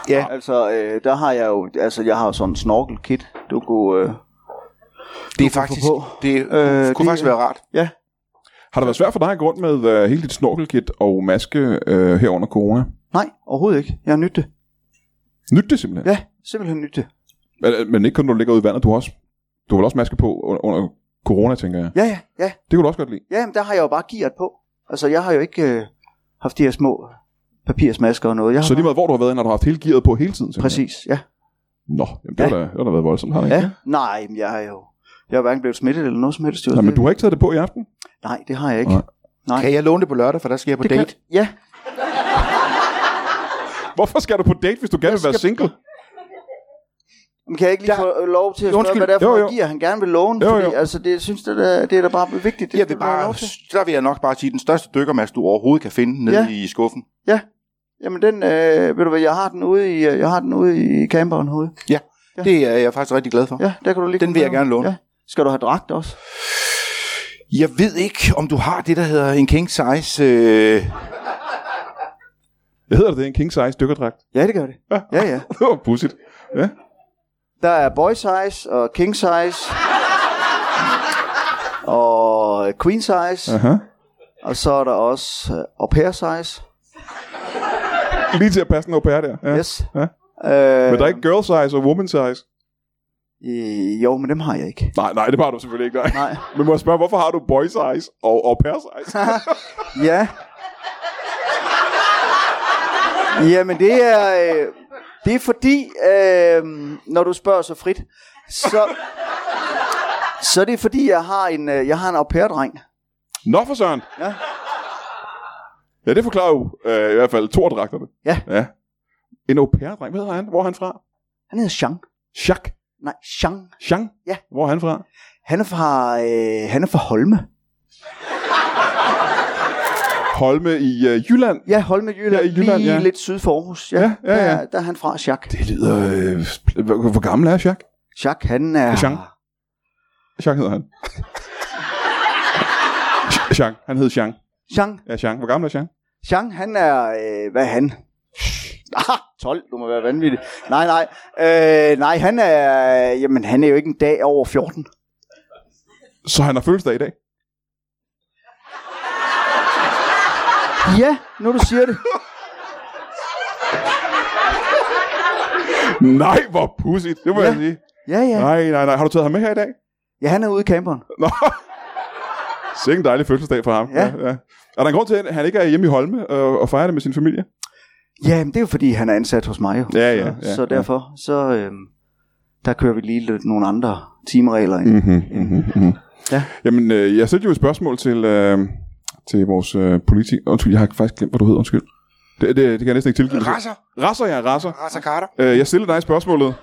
[SPEAKER 2] Ja.
[SPEAKER 5] Altså, øh, der har jeg jo, altså, jeg har jo sådan en snorkelkit, du kunne, øh,
[SPEAKER 2] Det er
[SPEAKER 5] få
[SPEAKER 2] faktisk,
[SPEAKER 5] på.
[SPEAKER 2] det øh, kunne
[SPEAKER 5] det-
[SPEAKER 2] faktisk være rart.
[SPEAKER 5] ja,
[SPEAKER 1] Har det været svært for dig at gå rundt med øh, hele dit snorkelkit og maske øh, her under corona?
[SPEAKER 5] nej, overhovedet ikke, jeg har nyt det.
[SPEAKER 1] Nyt det simpelthen.
[SPEAKER 5] Ja, simpelthen nyt det.
[SPEAKER 1] Men, men ikke kun, når du ligger ude i vandet. Du har, også, du har vel også maske på under, under corona, tænker jeg.
[SPEAKER 5] Ja, ja, ja,
[SPEAKER 1] Det kunne du også godt lide.
[SPEAKER 5] ja, men der har jeg jo bare gearet på. Altså, jeg har jo ikke øh, haft de her små papirsmasker og noget. Jeg har
[SPEAKER 1] Så lige meget, hvor du har været, når du har haft hele gearet på hele tiden. simpelthen.
[SPEAKER 5] Præcis, ja.
[SPEAKER 1] Nå, jamen, det, har da, det har da været voldsomt, har det ikke?
[SPEAKER 5] ja. Nej, men jeg har jo... Jeg har hverken blevet smittet eller noget som helst. jo.
[SPEAKER 1] Nej, men
[SPEAKER 5] Det-
[SPEAKER 1] du har ikke taget det på i aften?
[SPEAKER 5] Nej, det har jeg ikke.
[SPEAKER 1] Nej.
[SPEAKER 5] Nej.
[SPEAKER 2] Kan jeg låne det på lørdag, for der skal jeg på
[SPEAKER 5] det
[SPEAKER 2] date?
[SPEAKER 5] Kan... Ja,
[SPEAKER 1] Hvorfor skal du på date, hvis du gerne vil være single?
[SPEAKER 5] Men kan jeg ikke lige
[SPEAKER 2] Der-
[SPEAKER 5] få øh, lov til at spørge,
[SPEAKER 2] Undskyld.
[SPEAKER 5] hvad det er for
[SPEAKER 1] Jo,
[SPEAKER 5] jo,
[SPEAKER 1] jo.
[SPEAKER 5] gear, han gerne vil låne?
[SPEAKER 1] Jo,
[SPEAKER 5] Jo, jo. Fordi,
[SPEAKER 1] jo.
[SPEAKER 5] altså, det, jeg synes, det, er, det er da bare vigtigt. Det
[SPEAKER 2] Jeg
[SPEAKER 5] skal
[SPEAKER 2] vil
[SPEAKER 5] du have
[SPEAKER 2] bare,
[SPEAKER 5] lov til.
[SPEAKER 2] der vil jeg nok bare sige, den største dykkermaske, du overhovedet kan finde nede
[SPEAKER 5] Ja.
[SPEAKER 2] ja. i skuffen.
[SPEAKER 5] Ja. Jamen, den, øh, ved du hvad, jeg har den ude i, øh, jeg har den ude i camperen herude.
[SPEAKER 2] Ja.
[SPEAKER 5] Ja.
[SPEAKER 2] ja, det er jeg faktisk rigtig glad for. Ja.
[SPEAKER 5] Ja, der kan du lige
[SPEAKER 2] Den vil jeg gerne låne.
[SPEAKER 5] Ja. Skal du have dragt også?
[SPEAKER 2] Jeg ved ikke, om du har det, der hedder en king size. Øh...
[SPEAKER 1] Jeg hedder det, det er en king size dykkerdragt. <laughs>
[SPEAKER 5] Ja, det gør det. Ja, ja.
[SPEAKER 1] Det var pudsigt. Ja.
[SPEAKER 5] Der er boy size og king size. og queen size.
[SPEAKER 1] Aha.
[SPEAKER 5] Og så er der også øh, au pair size.
[SPEAKER 1] Lige til at passe den au pair der. Ja.
[SPEAKER 5] Ja. Yes.
[SPEAKER 1] Ja.
[SPEAKER 5] Øh,
[SPEAKER 1] Men der er ikke girl size og woman size.
[SPEAKER 5] øh, jo, men dem har jeg ikke.
[SPEAKER 1] Nej, nej, det har du selvfølgelig ikke. Nej.
[SPEAKER 5] Nej.
[SPEAKER 1] Men må jeg spørge, hvorfor har du boy size og au pair size?
[SPEAKER 5] <laughs> Ja. Jamen det er øh, det er fordi øh, når du spørger så frit, så så er det fordi jeg har en øh, jeg har en au pair dreng.
[SPEAKER 1] Nå for søren.
[SPEAKER 5] Ja.
[SPEAKER 1] Ja, det forklarer jo øh, i hvert fald to af dragterne.
[SPEAKER 5] Ja.
[SPEAKER 1] ja. En au pair dreng. Hvad hedder han? Hvor er han fra?
[SPEAKER 5] Han hedder Jean.
[SPEAKER 1] Jacques.
[SPEAKER 5] Nej, Jean.
[SPEAKER 1] Jean.
[SPEAKER 5] Ja.
[SPEAKER 1] Hvor er han fra?
[SPEAKER 5] Han er fra øh, han er fra Holme.
[SPEAKER 1] Holme i øh, Jylland.
[SPEAKER 5] Ja, Holme Jylland,
[SPEAKER 1] Ja, i Jylland,
[SPEAKER 5] lige
[SPEAKER 1] ja.
[SPEAKER 5] lidt syd for Aarhus. Ja,
[SPEAKER 1] Ja, ja, ja.
[SPEAKER 5] Der, der er han fra, Jacques.
[SPEAKER 1] Det lyder... Øh, sp- hvor, hvor gammel er Jacques?
[SPEAKER 5] Jacques, han er
[SPEAKER 1] Jean. Jean hedder han. <laughs> Jean. Han hed Jean.
[SPEAKER 5] Jean.
[SPEAKER 1] Ja, Jean. Hvor gammel er Jean?
[SPEAKER 5] Jean, han er, øh, hvad er han? Ah, 12, du må være vanvittig. Nej, nej. Øh, nej, han er, jamen han er jo ikke en dag over 14.
[SPEAKER 1] Så han har fødselsdag i dag.
[SPEAKER 5] Ja, nu du siger det.
[SPEAKER 1] Nej, hvor pudsigt. Det må
[SPEAKER 5] Ja.
[SPEAKER 1] ja. jeg sige.
[SPEAKER 5] Ja, ja.
[SPEAKER 1] Nej, nej, nej. Har du taget ham med her i dag?
[SPEAKER 5] Ja, han er ude i camperen.
[SPEAKER 1] Nå. Sikke en dejlig fødselsdag for ham.
[SPEAKER 5] Ja.
[SPEAKER 1] ja. Er der en grund til, at han ikke er hjemme i Holme og, og fejrer det med sin familie?
[SPEAKER 5] Ja, men det er jo fordi, han er ansat hos mig jo.
[SPEAKER 1] Ja, ja,
[SPEAKER 5] Så,
[SPEAKER 1] ja,
[SPEAKER 5] så
[SPEAKER 1] ja.
[SPEAKER 5] derfor, så øh, der kører vi lige lidt nogle andre timeregler ind.
[SPEAKER 1] Mm-hmm, mm-hmm, mm-hmm.
[SPEAKER 5] Ja.
[SPEAKER 1] Jamen, øh, jeg sendte jo et spørgsmål til, øh, til vores øh, politi... Undskyld, jeg har faktisk glemt, hvad du hedder. Undskyld. Det, det, det kan jeg næsten ikke tilgive. mig selv.
[SPEAKER 2] Rasser.
[SPEAKER 1] Rasser, ja, rasser.
[SPEAKER 2] Rasser Carter.
[SPEAKER 1] Øh, jeg stiller dig
[SPEAKER 2] <laughs>
[SPEAKER 1] spørgsmålet.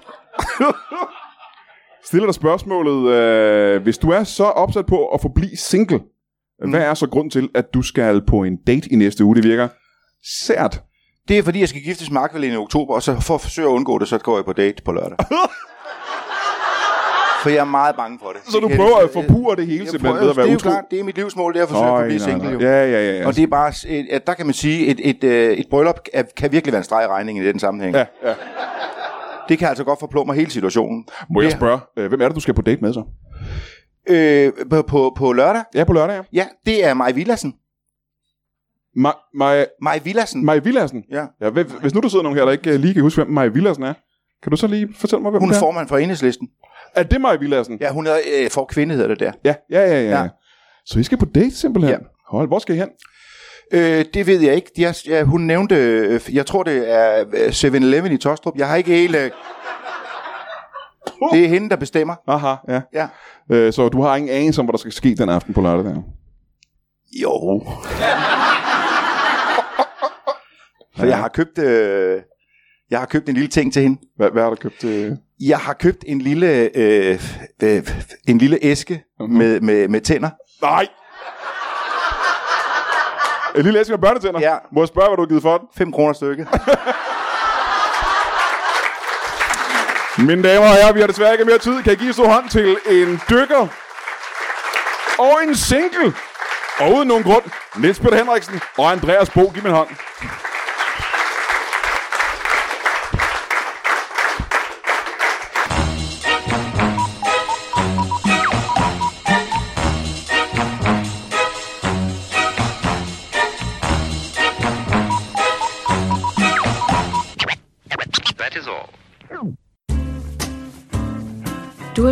[SPEAKER 1] stiller dig spørgsmålet, øh, hvis du er så opsat på at forblive single, mm. hvad er så grund til, at du skal på en date i næste uge? Det virker sært.
[SPEAKER 2] Det er fordi, jeg skal giftes med Akvalene i oktober, og så for at forsøge at undgå det, så går jeg på date på lørdag. for jeg er meget bange for det.
[SPEAKER 1] Så
[SPEAKER 2] Det
[SPEAKER 1] du
[SPEAKER 2] kan
[SPEAKER 1] prøver
[SPEAKER 2] jeg-
[SPEAKER 1] at forpure det hele
[SPEAKER 2] Jeg
[SPEAKER 1] simpelthen
[SPEAKER 2] prøver-
[SPEAKER 1] ved at være
[SPEAKER 2] det er jo
[SPEAKER 1] utro?
[SPEAKER 2] klart, det er mit livsmål, det er at forsøge at
[SPEAKER 1] Øj,
[SPEAKER 2] blive
[SPEAKER 1] nej,
[SPEAKER 2] single.
[SPEAKER 1] nej.
[SPEAKER 2] Jo.
[SPEAKER 1] Ja, ja, ja. ja.
[SPEAKER 2] Og det er bare, et, at der kan man sige, et, et, øh, et bryllup er, kan virkelig være en streg i regningen i den sammenhæng.
[SPEAKER 1] Ja, ja.
[SPEAKER 2] Det kan altså godt forplumre hele situationen.
[SPEAKER 1] Må jeg
[SPEAKER 2] Ja.
[SPEAKER 1] spørge, øh, hvem er det, du skal på date med så?
[SPEAKER 2] Øh, på, på, på lørdag,
[SPEAKER 1] Ja, på lørdag, ja.
[SPEAKER 2] ja, det er Maj Villadsen.
[SPEAKER 1] Maj, Maj,
[SPEAKER 2] Maj Villadsen.
[SPEAKER 1] Maj Villadsen.
[SPEAKER 2] Ja.
[SPEAKER 1] ja hvem- hvis nu der sidder nogen her, der ikke øh, lige kan huske, hvem Maj Villadsen er, kan du så lige fortælle mig, hvem
[SPEAKER 2] Hun
[SPEAKER 1] det
[SPEAKER 2] er
[SPEAKER 1] er?
[SPEAKER 2] formand for enhedslisten.
[SPEAKER 1] Er det Maj Villadsen?
[SPEAKER 2] Ja, hun er øh, for kvinde, hedder det der.
[SPEAKER 1] Ja, ja, ja, ja. ja.
[SPEAKER 2] Ja.
[SPEAKER 1] Så I skal på date simpelthen?
[SPEAKER 2] Ja.
[SPEAKER 1] Hold, hvor skal I hen?
[SPEAKER 2] Øh, det ved jeg ikke. De har, ja, hun nævnte, øh, jeg tror det er øh, 7-Eleven i Tostrup. Jeg har ikke helt... Øh... Det er hende, der bestemmer.
[SPEAKER 1] Aha, ja.
[SPEAKER 2] Ja.
[SPEAKER 1] Øh, så du har ingen anelse om, hvad der skal ske den aften på lørdag der?
[SPEAKER 2] Jo. Så jeg har købt... Øh, jeg har købt en lille ting til hende.
[SPEAKER 1] Hvad, hvad har du købt? Øh?
[SPEAKER 2] Jeg har købt en lille, øh, øh, en lille æske
[SPEAKER 1] Mhm.
[SPEAKER 2] med, med, med tænder.
[SPEAKER 1] <laughs> Nej! En lille æske med børnetænder?
[SPEAKER 2] Ja.
[SPEAKER 1] Må jeg spørge, hvad du har givet for den?
[SPEAKER 2] 5 kroner stykket.
[SPEAKER 1] Mine damer og herrer, vi har desværre ikke mere tid. Kan I give en stor hånd til en dykker og en single? Og uden nogen grund, Niels Peter Henriksen og Andreas Bo. Giv mig en hånd.
[SPEAKER 7] That is all.
[SPEAKER 8] Du har